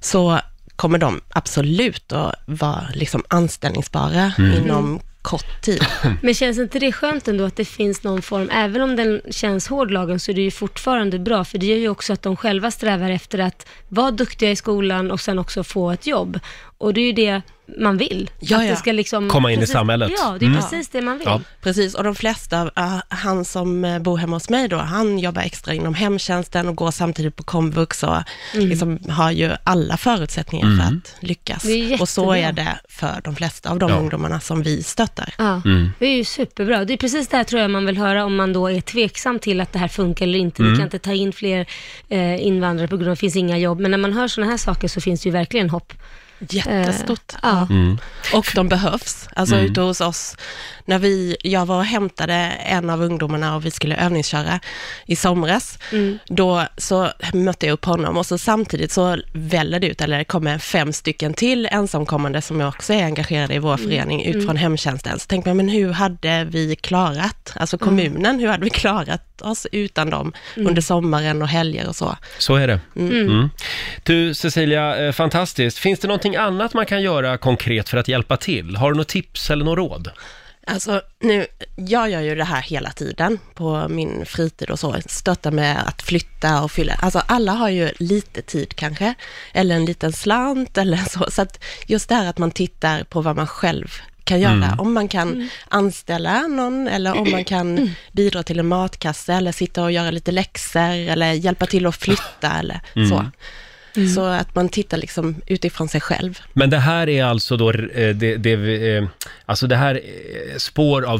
S15: så kommer de absolut att vara liksom anställningsbara
S2: Mm.
S15: inom kort tid.
S2: Men känns inte det skönt ändå att det finns någon form, även om den känns hård lagen, så är det ju fortfarande bra, för det gör ju också att de själva strävar efter att vara duktiga i skolan och sen också få ett jobb. Och det är ju det man vill.
S15: Ja,
S2: att
S15: ja.
S2: det ska liksom...
S1: Komma in i samhället.
S2: Ja, det är
S1: Mm.
S2: precis det man vill.
S1: Ja.
S15: Precis, och de flesta, äh, han som äh, bor hemma hos mig då, han jobbar extra inom hemtjänsten och går samtidigt på komvux och
S16: Mm.
S15: liksom har ju alla förutsättningar för
S16: Mm.
S15: att lyckas.
S2: Det är jättebra.
S15: Och så är det för de flesta av de
S2: Ja.
S15: ungdomarna som vi stöttar.
S2: Ja,
S16: Mm.
S2: det är ju superbra. Det är precis det här tror jag man vill höra om man då är tveksam till att det här funkar eller inte.
S16: Mm.
S2: Vi kan inte ta in fler eh, invandrare på grund av att det finns inga jobb. Men när man hör sådana här saker så finns det ju verkligen hopp.
S15: Jättestort.
S9: Eh, ja.
S1: Mm.
S15: Och de behövs. Alltså
S1: Mm.
S15: ute hos oss, när vi, jag var och hämtade en av ungdomarna och vi skulle övningsköra i somras,
S2: Mm.
S15: då så mötte jag upp honom och så samtidigt så väller det ut, eller det kommer fem stycken till ensamkommande som jag också är engagerade i vår
S2: Mm.
S15: förening ut
S2: Mm.
S15: från hemtjänsten. Så tänkte jag, men hur hade vi klarat, alltså
S2: Mm.
S15: kommunen, hur hade vi klarat oss utan dem
S1: Mm.
S15: under sommaren och helger och så?
S1: Så är det.
S15: Mm.
S1: Mm. Du Cecilia, eh, fantastiskt. Finns det någonting annat man kan göra konkret för att hjälpa till? Har du något tips eller något råd?
S15: Alltså, nu, jag gör ju det här hela tiden på min fritid och så. Stötta med att flytta och fylla. Alltså, alla har ju lite tid kanske, eller en liten slant eller så. Så att just det här att man tittar på vad man själv kan göra.
S2: Mm.
S15: Om man kan
S2: Mm.
S15: anställa någon eller om man kan bidra till en matkasse eller sitta och göra lite läxor eller hjälpa till att flytta eller
S1: Mm.
S15: så. Så att man tittar liksom utifrån sig själv.
S1: Men det här är alltså då, eh, det, det, vi, eh, alltså det här eh, spår av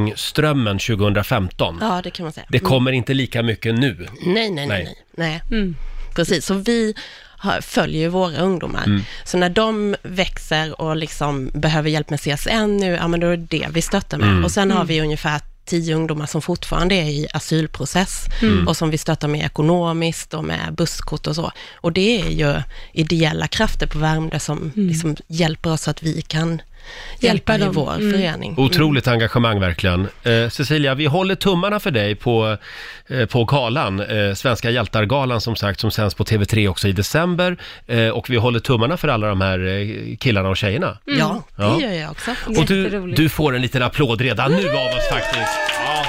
S1: flyktingströmmen 2015.
S15: Ja, det kan man säga.
S1: Det
S15: Mm.
S1: kommer inte lika mycket nu.
S15: Nej, nej, nej. nej. nej. Precis, så vi har, följer ju våra ungdomar.
S1: Mm.
S15: Så när de växer och liksom behöver hjälp med CSN nu, ja men då är det det vi stöttar med.
S2: Mm.
S15: Och sen har
S2: Mm.
S15: vi ungefär tio ungdomar som fortfarande är i asylprocess
S2: Mm.
S15: och som vi stöttar med ekonomiskt och med busskort och så. Och det är ju ideella krafter på Värmdö som liksom hjälper oss så att vi kan hjälpa, i
S9: dem.
S15: vår
S9: Mm.
S15: förening.
S1: Otroligt engagemang verkligen. Eh, Cecilia, vi håller tummarna för dig på, eh, på galan, eh, Svenska hjältar-galan som sagt, som sänds på TV3 också i december. Eh, och vi håller tummarna för alla de här eh, killarna och tjejerna.
S15: Mm. Ja, det gör jag också.
S1: Och du, du får en liten applåd redan nu av oss faktiskt. Ja.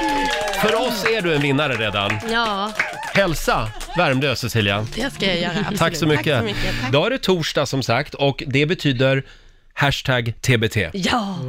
S1: För oss är du en vinnare redan.
S15: Ja,
S1: Hälsa Värmdö, Cecilia.
S15: det ska jag göra. Absolut.
S1: Tack så mycket.
S15: Tack så mycket. Tack.
S1: Då är det torsdag som sagt och det betyder hashtag TBT.
S9: Ja,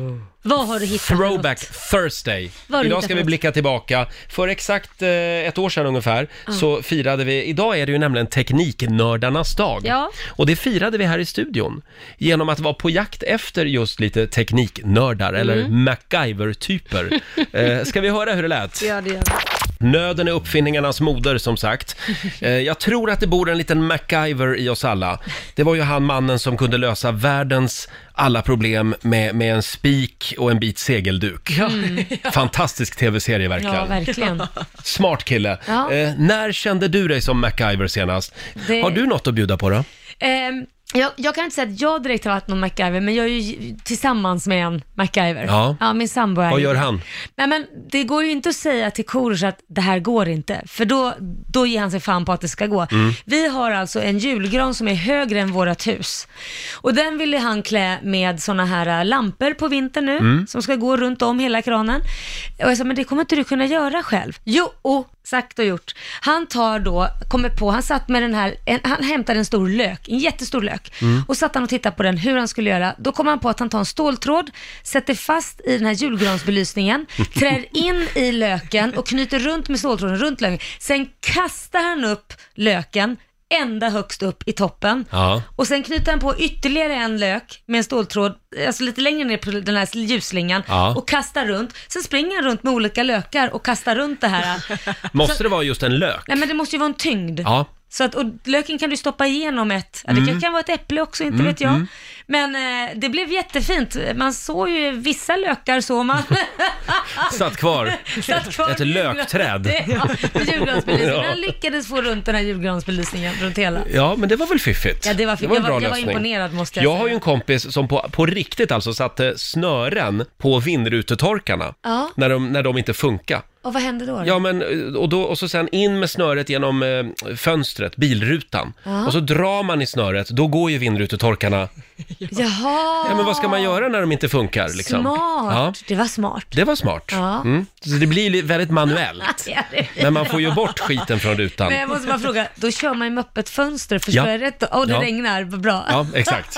S9: vad har du hittat?
S1: Throwback Thursday.
S9: Vad har du
S1: Idag
S9: hittat
S1: ska
S9: för
S1: vi
S9: något?
S1: blicka tillbaka. För exakt eh, ett år sedan ungefär
S9: Ja.
S1: så firade vi, idag är det ju nämligen Tekniknördarnas dag.
S9: Ja.
S1: Och det firade vi här i studion genom att vara på jakt efter just lite tekniknördar eller
S9: Mm.
S1: MacGyver-typer. eh, ska vi höra hur det lät?
S9: Ja, det gör vi.
S1: Nöden är uppfinningarnas moder, som sagt. Eh, Jag tror att det bor en liten MacGyver i oss alla. Det var ju han mannen som kunde lösa världens alla problem med, med en spik och en bit segelduk. Fantastisk tv-serie verkligen.
S9: Ja, verkligen.
S1: Smart kille.
S9: Ja.
S1: Eh, när kände du dig som MacGyver senast?
S9: Det-
S1: Har du något att bjuda på då?
S2: Ehm, jag, jag kan inte säga att jag direkt har varit någon MacGyver, men jag är ju tillsammans med en MacGyver.
S1: Ja.
S2: min sambo är
S1: Vad
S2: ju-
S1: gör han?
S2: Nej men det går ju inte att säga till Korosh att det här går inte, för då, då ger han sig fan på att det ska gå.
S9: Mm.
S2: Vi har alltså en julgran som är högre än vårt hus. Och den ville han klä med sådana här äh, lampor på vintern nu,
S9: Mm.
S2: som ska gå runt om hela kranen. Och jag sa, men det kommer inte du kunna göra själv. Jo, oh, sagt och gjort. Han tar då, kommer på, han satt med den här, en, han hämtade en stor lök, en jättestor lök.
S9: Mm.
S2: Och satt han och tittade på den, hur han skulle göra. Då kom han på att han tar en ståltråd, sätter fast i den här julgransbelysningen, trär in i löken och knyter runt med ståltråden runt löken. Sen kastar han upp löken ända högst upp i toppen.
S1: Ja.
S2: Och sen knyter han på ytterligare en lök med en ståltråd, alltså lite längre ner på den här ljusslingan
S1: Ja.
S2: och kastar runt. Sen springer han runt med olika lökar och kastar runt det här.
S1: Måste
S2: Så-
S1: det vara just en lök?
S2: Nej men det måste ju vara en tyngd.
S1: Ja.
S2: Så att, och löken kan du stoppa igenom ett, ja, det
S1: Mm.
S2: kan- kan vara ett äpple också, inte
S1: Mm,
S2: vet jag.
S1: mm.
S2: Men eh, det blev jättefint. Man såg ju vissa lökar såg man.
S1: Satt kvar.
S2: Satt kvar
S1: Ett
S2: vid
S1: lökträd.
S2: julgran- Ja, vid julgransbelysningen.
S1: Ja.
S2: Han lyckades få runt den här julgransbelysningen runt hela.
S1: Ja, men det var väl fiffigt?
S2: Ja, det var,
S1: en
S2: jag,
S1: bra
S2: var, jag var
S1: lösning.
S2: imponerad måste jag,
S1: Jag
S2: säga.
S1: har ju en kompis som på, på riktigt alltså satte snören på vindrutetorkarna
S2: Ja,
S1: när, de, när de inte funkar.
S2: och vad hände då? då?
S1: Ja, men, eh, och, då, och så sen in med snöret genom eh, fönstret, bilrutan.
S2: Ja.
S1: Och så drar man i snöret, då går ju vindrutetorkarna.
S2: Jaha!
S1: Ja, men vad ska man göra när de inte funkar? Liksom?
S2: Ah. Smart!
S1: Ja,
S2: Det var smart.
S1: det var smart.
S2: Ja.
S1: Mm. Så det blir li- väldigt manuellt.
S2: Ja, det-
S1: Men man får ju bort skiten från rutan.
S2: Men jag måste bara fråga, då kör man ju med öppet fönster, förstår
S1: Ja.
S2: jag rätt? då? Åh, det
S1: Ja.
S2: regnar, vad bra.
S1: Ja, exakt.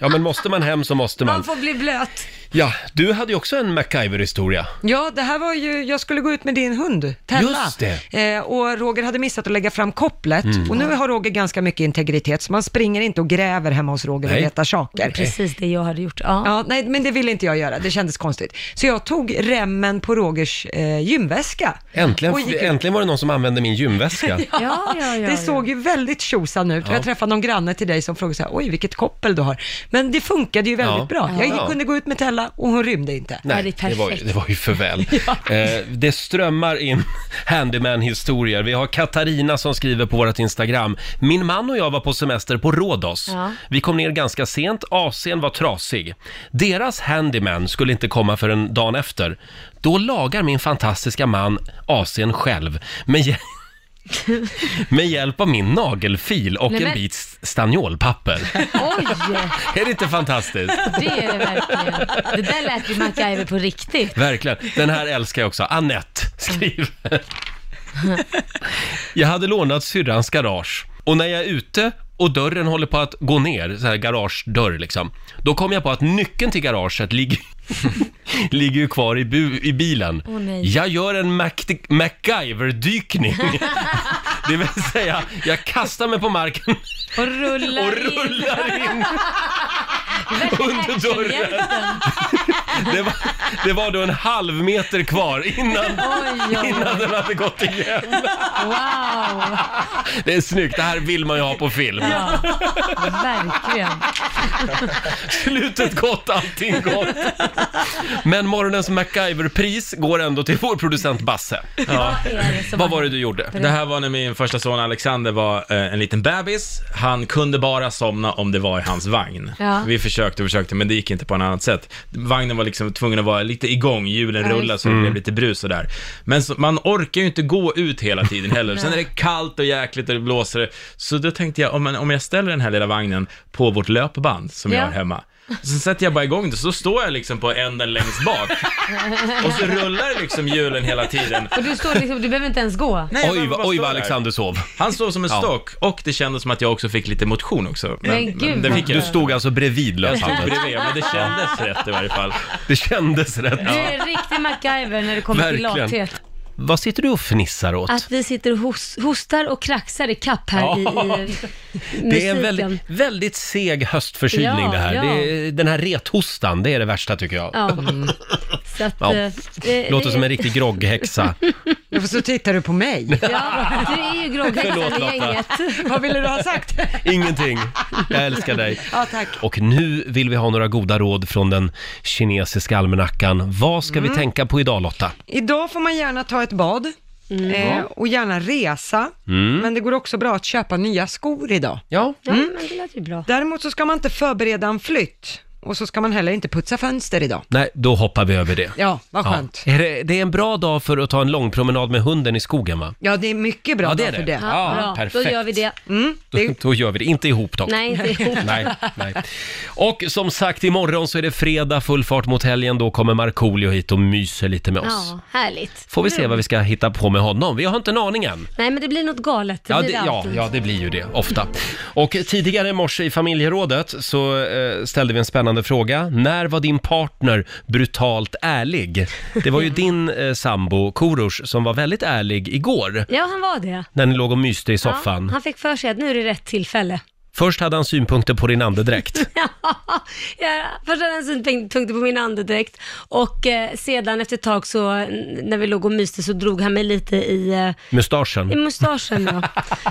S1: Ja, men måste man hem så måste
S2: Man
S1: man.
S2: får bli blöt.
S1: Ja, du hade ju också en MacGyver-historia.
S3: Ja, det här var ju, jag skulle gå ut med din hund, Tella.
S1: Just det.
S3: Eh, och Roger hade missat att lägga fram kopplet.
S1: Mm.
S3: Och nu har Roger ganska mycket integritet, så man springer inte och gräver hemma hos Roger
S2: Nej.
S3: och letar saker.
S2: Precis det jag hade gjort. Ja.
S3: Ja, nej, men det ville inte jag göra. Det kändes konstigt. Så jag tog remmen på Rogers eh, gymväska.
S1: Äntligen,
S3: Och gick ut.
S1: äntligen var det någon som använde min gymväska.
S2: Ja, ja, ja,
S3: det
S2: ja.
S3: såg ju väldigt tjosan ut.
S1: Ja.
S3: Jag träffade någon granne till dig som frågade så här, oj vilket koppel du har. Men det funkade ju väldigt
S1: Ja.
S3: bra. Jag
S1: Ja.
S3: kunde gå ut med Tella och hon rymde inte.
S1: Nej, det, var, ju- det var ju för väl. eh, det strömmar in handyman-historier. Vi har Katarina som skriver på vårt Instagram. Min man och jag var på semester på Rhodos.
S2: Ja.
S1: Vi kom ner ganska sent, AC'n var trasig. Deras handyman skulle inte komma förrän dagen efter. Då lagar min fantastiska man AC'n själv med, hjä- med hjälp av min nagelfil och
S2: Nej,
S1: en
S2: men-
S1: bit s- stanniolpapper.
S2: Oj!
S1: Är det inte fantastiskt?
S2: Det är det verkligen. Det där lät ju MacGyver på riktigt.
S1: Verkligen. Den här älskar jag också. Annette skriver. Jag hade lånat syrrans garage och när jag är ute och dörren håller på att gå ner, så här garagedörr liksom, då kom jag på att nyckeln till garaget ligger, ligger ju kvar i, bu, i bilen.
S2: Åh, nej.
S1: jag gör en Mac, MacGyver-dykning. Det vill säga, jag kastar mig på marken
S2: Och rullar,
S1: Och rullar in. under dörren.
S2: Actionhjälten.
S1: Det var, det var då en halv meter kvar innan,
S2: Oj, oj.
S1: innan den hade gått igen.
S2: Wow!
S1: Det är snyggt, det här vill man ju ha på film.
S2: Ja, verkligen.
S1: Slutet gott, allting gott. Men morgonens MacGyver-pris går ändå till vår producent Basse.
S5: Ja.
S1: Vad var det du gjorde?
S5: Det här var när min första son Alexander var eh, en liten bebis. Han kunde bara somna om det var i hans vagn.
S2: Ja.
S5: Vi försökte och försökte, men det gick inte på något annat sätt. Vagnen var liksom tvungen att vara lite igång, hjulen
S2: Ja,
S5: rullade
S2: just
S5: så det
S2: det.
S5: blev lite brus och där. Men så, man orkar ju inte gå ut hela tiden heller. Sen är det
S2: Nej.
S5: kallt och jäkligt och det blåser. Så då tänkte jag, om, man- om jag ställer den här lilla vagnen på vårt löpband som jag
S2: Ja.
S5: har hemma. Sen sätter jag bara igång det, så står jag liksom på änden längst bak. Och så rullar liksom hjulen hela tiden.
S2: Och du står liksom, du behöver inte ens gå.
S5: jag
S1: Oj,
S5: bara
S1: vad- oj,
S5: står
S1: vad
S5: där.
S1: Alexander sov.
S5: Han sov som en
S1: Ja.
S5: stock och det kändes som att jag också fick lite motion också.
S2: Men gud,
S5: det
S2: vad
S5: fick jag.
S2: skönt.
S1: Du stod alltså bredvid
S5: Jag stod
S1: löpbandet?
S5: bredvid, men det kändes rätt i varje fall.
S1: Det kändes rätt.
S2: Du är en riktig MacGyver när det kommer till
S1: Verkligen.
S2: lathet. Alltså,
S1: Vad sitter du och fnissar åt?
S2: Att vi sitter och hos, hostar och kraxar i kapp här i,
S1: Ja.
S2: i
S1: Det är en
S2: musiken.
S1: väldigt, väldigt seg höstförkylning
S2: Ja,
S1: det här.
S2: ja.
S1: Det är, den här rethostan, det är det värsta tycker jag.
S2: Ja. Mm. Så att,
S1: Ja.
S2: eh, det-
S1: Låter
S2: det-
S1: som en riktig grogghäxa.
S3: Ja, för så tittar du på mig.
S2: Ja, du är ju
S1: Förlåt,
S2: grogghäxan
S1: Lotta.
S2: i gänget.
S3: Vad ville du ha sagt?
S1: Ingenting. Jag älskar dig.
S3: Ja, tack.
S1: Och nu vill vi ha några goda råd från den kinesiska almanackan. Vad ska vi
S3: Mm.
S1: tänka på idag Lotta?
S3: Idag får man gärna ta ett bad eh, och gärna resa,
S1: Mm.
S3: men det går också bra att köpa nya skor idag. Mm.
S1: Ja,
S2: Ja, men det lät ju bra.
S3: Däremot så ska man inte förbereda en flytt och så ska man heller inte putsa fönster idag.
S1: Nej, då hoppar vi över det.
S3: Ja, vad
S1: Ja.
S3: skönt.
S1: Är det, det är en bra dag för att ta en lång promenad med hunden i skogen va?
S3: Ja, det är mycket bra
S1: Ja, det är
S3: dag för
S1: det.
S3: det.
S1: Ja, Ja, bra. perfekt. Då gör vi
S2: det.
S3: Mm,
S1: Då,
S3: det
S1: då gör vi det, inte ihop dock.
S2: Nej, inte ihop.
S1: nej, nej. Och som sagt, imorgon så är det fredag, full fart mot helgen. Då kommer Markoolio hit och myser lite med oss.
S2: Ja, härligt.
S1: Får vi se
S2: Mm.
S1: vad vi ska hitta på med honom. Vi har inte en aning än.
S2: Nej, men det blir något galet. Det
S1: Ja
S2: blir
S1: det,
S2: det
S1: ja,
S2: alltid.
S1: ja, det blir ju det, ofta. Och tidigare i morse i familjerådet så eh, ställde vi en spännande fråga. När var din partner brutalt ärlig? Det var ju din eh, sambo Korosh som var väldigt ärlig igår,
S2: Ja, han var det.
S1: när ni låg och myste i
S2: Ja,
S1: soffan.
S2: han fick för sig att nu är det rätt tillfälle.
S1: Först hade han synpunkter på din andedräkt.
S2: Ja, först hade han synpunkter på min andedräkt och eh, sedan efter ett tag så n- när vi låg och myste så drog han mig lite i, eh, i
S1: Mustaschen.
S2: mustaschen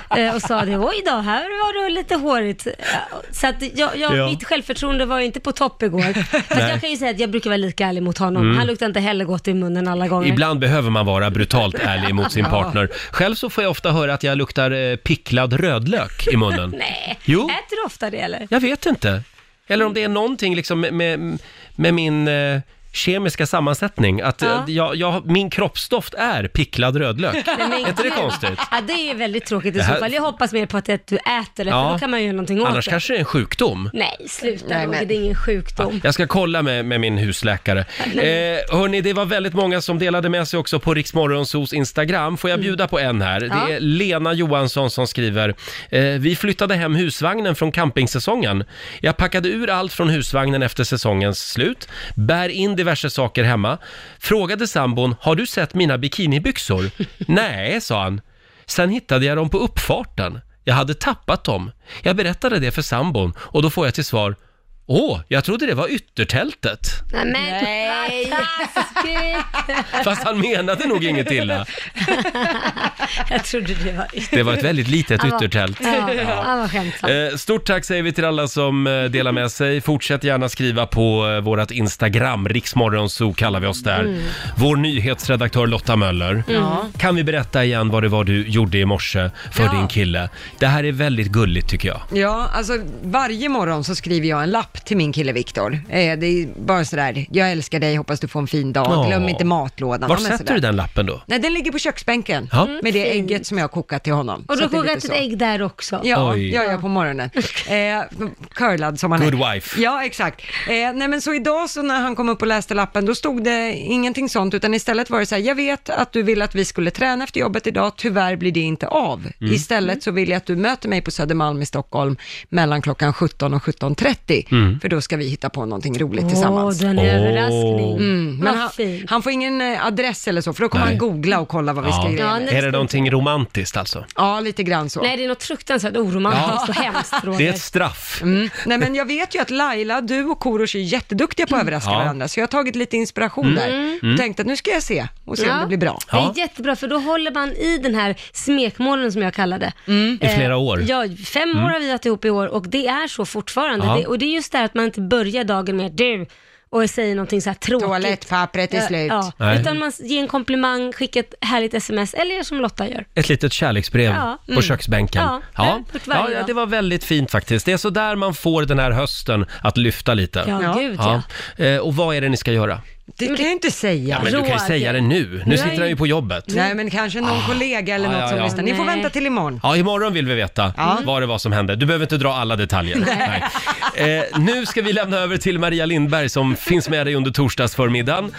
S2: ja. eh, och sa det, oj då, här var det lite hårigt. Ja, Så att jag, jag,
S1: Ja.
S2: mitt självförtroende var ju inte på topp igår. Fast
S1: Nej.
S2: jag kan ju säga att jag brukar vara lika ärlig mot honom.
S1: Mm.
S2: Han luktar inte heller gott i munnen alla gånger.
S1: Ibland behöver man vara brutalt ärlig mot sin
S2: Ja.
S1: partner. Själv så får jag ofta höra att jag luktar eh, picklad rödlök i munnen.
S2: Nej,
S1: Jo.
S2: äter du ofta det eller?
S1: Jag vet inte. Eller om det är någonting liksom med, med, med min eh, kemiska sammansättning att eh,
S2: Ja.
S1: jag, jag, min kroppsdoft är picklad rödlök.
S2: Nej, men
S1: Är inte det
S2: gud.
S1: konstigt?
S2: Ja, det är väldigt tråkigt i
S1: Det här-
S2: så fall. Jag hoppas mer på att det du äter det,
S1: Ja.
S2: för då kan man ju göra någonting åt
S1: Annars
S2: det.
S1: kanske det är en sjukdom.
S2: Nej, sluta
S17: Nej, men-
S2: Roger, det är ingen sjukdom.
S1: Jag ska kolla med, med min husläkare. Eh, hörni, det var väldigt många som delade med sig också på Riksmorgonsos Instagram. Får jag
S2: Mm.
S1: bjuda på en här?
S2: Ja.
S1: Det är Lena Johansson som skriver. Eh, vi flyttade hem husvagnen från campingsäsongen. Jag packade ur allt från husvagnen efter säsongens slut. Bär in diverse saker hemma. Frågade sambon, har du sett mina bikinibyxor? Nej, sa han. Sen hittade jag dem på uppfarten. Jag hade tappat dem. Jag berättade det för sambon och då får jag till svar Åh, jag trodde det var yttertältet.
S2: Nej, men Nej.
S1: Fast han menade nog inget illa.
S2: Jag trodde det var yttertält.
S1: Det var ett väldigt litet
S2: Han var-
S1: yttertält.
S2: Ja,
S1: Ja.
S2: han var skämtsam.
S1: Eh, Stort tack säger vi till alla som eh, delar med sig. Fortsätt gärna skriva på eh, vårat Instagram, Riksmorgonzoo kallar vi oss där.
S2: Mm.
S1: Vår nyhetsredaktör Lotta Möller.
S2: Ja.
S1: Kan vi berätta igen vad det var du gjorde i morse för
S3: Ja.
S1: din kille? Det här är väldigt gulligt tycker jag.
S3: Ja, alltså varje morgon så skriver jag en lapp till min kille Viktor. Eh, det är bara sådär, jag älskar dig, hoppas du får en fin dag,
S1: Ja.
S3: glöm inte matlådan.
S1: Var
S3: Ja, men
S1: sätter
S3: sådär.
S1: du den lappen då?
S3: Nej, den ligger på köksbänken
S1: Ja.
S3: med det ägget som jag har kokat till honom.
S2: Mm, Och
S3: Så
S2: du har
S3: att det är
S2: kokat
S3: lite
S2: ett
S3: så.
S2: ägg där också.
S3: Ja,
S2: Oj.
S3: jag gör på morgonen. Eh, curlad som han
S1: Good
S3: är.
S1: wife.
S3: Ja, exakt. Eh, nej, men så idag så när han kom upp och läste lappen, då stod det ingenting sånt, utan istället var det så här, jag vet att du ville att vi skulle träna efter jobbet idag, tyvärr blir det inte av.
S6: Mm.
S3: Istället så vill jag att du möter mig på Södermalm i Stockholm mellan klockan 17 och 17.30,
S6: Mm.
S3: för då ska vi hitta på någonting roligt
S2: Åh,
S3: tillsammans.
S2: den är Åh. överraskning.
S3: Mm, men
S2: Vad
S3: han,
S2: Ah, fint.
S3: han får ingen eh, adress eller så, för då kommer
S1: Nej.
S3: han googla och kolla vad vi ska
S1: Ja.
S3: göra.
S1: Är det någonting romantiskt alltså?
S3: Ja, lite grann så.
S2: Nej, det är något fruktansvärt oromantiskt
S3: Ja.
S2: och hemskt Roger.
S1: Det är ett straff.
S3: Mm. Nej men jag vet ju att Laila, du och Korosh är jätteduktiga på att överraska
S1: Mm. Ja.
S3: varandra, så jag har tagit lite inspiration
S1: Mm.
S3: där.
S1: Mm.
S3: Och tänkte att nu ska jag se och se om
S2: Ja.
S3: det blir bra.
S2: Det är jättebra, för då håller man i den här smekmålen som jag kallar det.
S1: Mm. I flera år.
S2: Ja, fem
S1: Mm.
S2: år har vi haft ihop i år och det är så fortfarande.
S1: Ja.
S2: Det, och det är just det här att man inte börjar dagen med du och säger någonting så här tråkigt.
S3: Toalettpappret är slut.
S2: Ja, ja.
S1: Nej.
S2: Utan man ger en komplimang, skickar ett härligt sms eller gör som Lotta gör.
S1: Ett litet kärleksbrev
S2: Ja.
S1: på
S2: Mm.
S1: köksbänken.
S2: Ja, det har jag gjort varje
S1: ja,
S2: dag.
S1: det var väldigt fint faktiskt. Det är så där man får den här hösten att lyfta lite.
S2: Ja, Ja. gud, ja.
S1: Eh, Och vad är det ni ska göra?
S3: Det kan jag inte säga.
S1: Ja, men du kan ju säga det nu. Nu
S3: Nej.
S1: sitter han ju på jobbet.
S3: Nej men kanske någon kollega eller
S1: Ja,
S3: något
S1: ja,
S3: som
S1: ja.
S3: lyssnar. Ni får
S1: Nej.
S3: vänta till imorgon.
S1: Ja, imorgon vill vi veta Mm.
S3: Ja.
S1: vad det var som hände. Du behöver inte dra alla detaljer.
S3: Nej.
S1: Eh, nu ska vi lämna över till Maria Lindberg som finns med dig under torsdagsförmiddagen.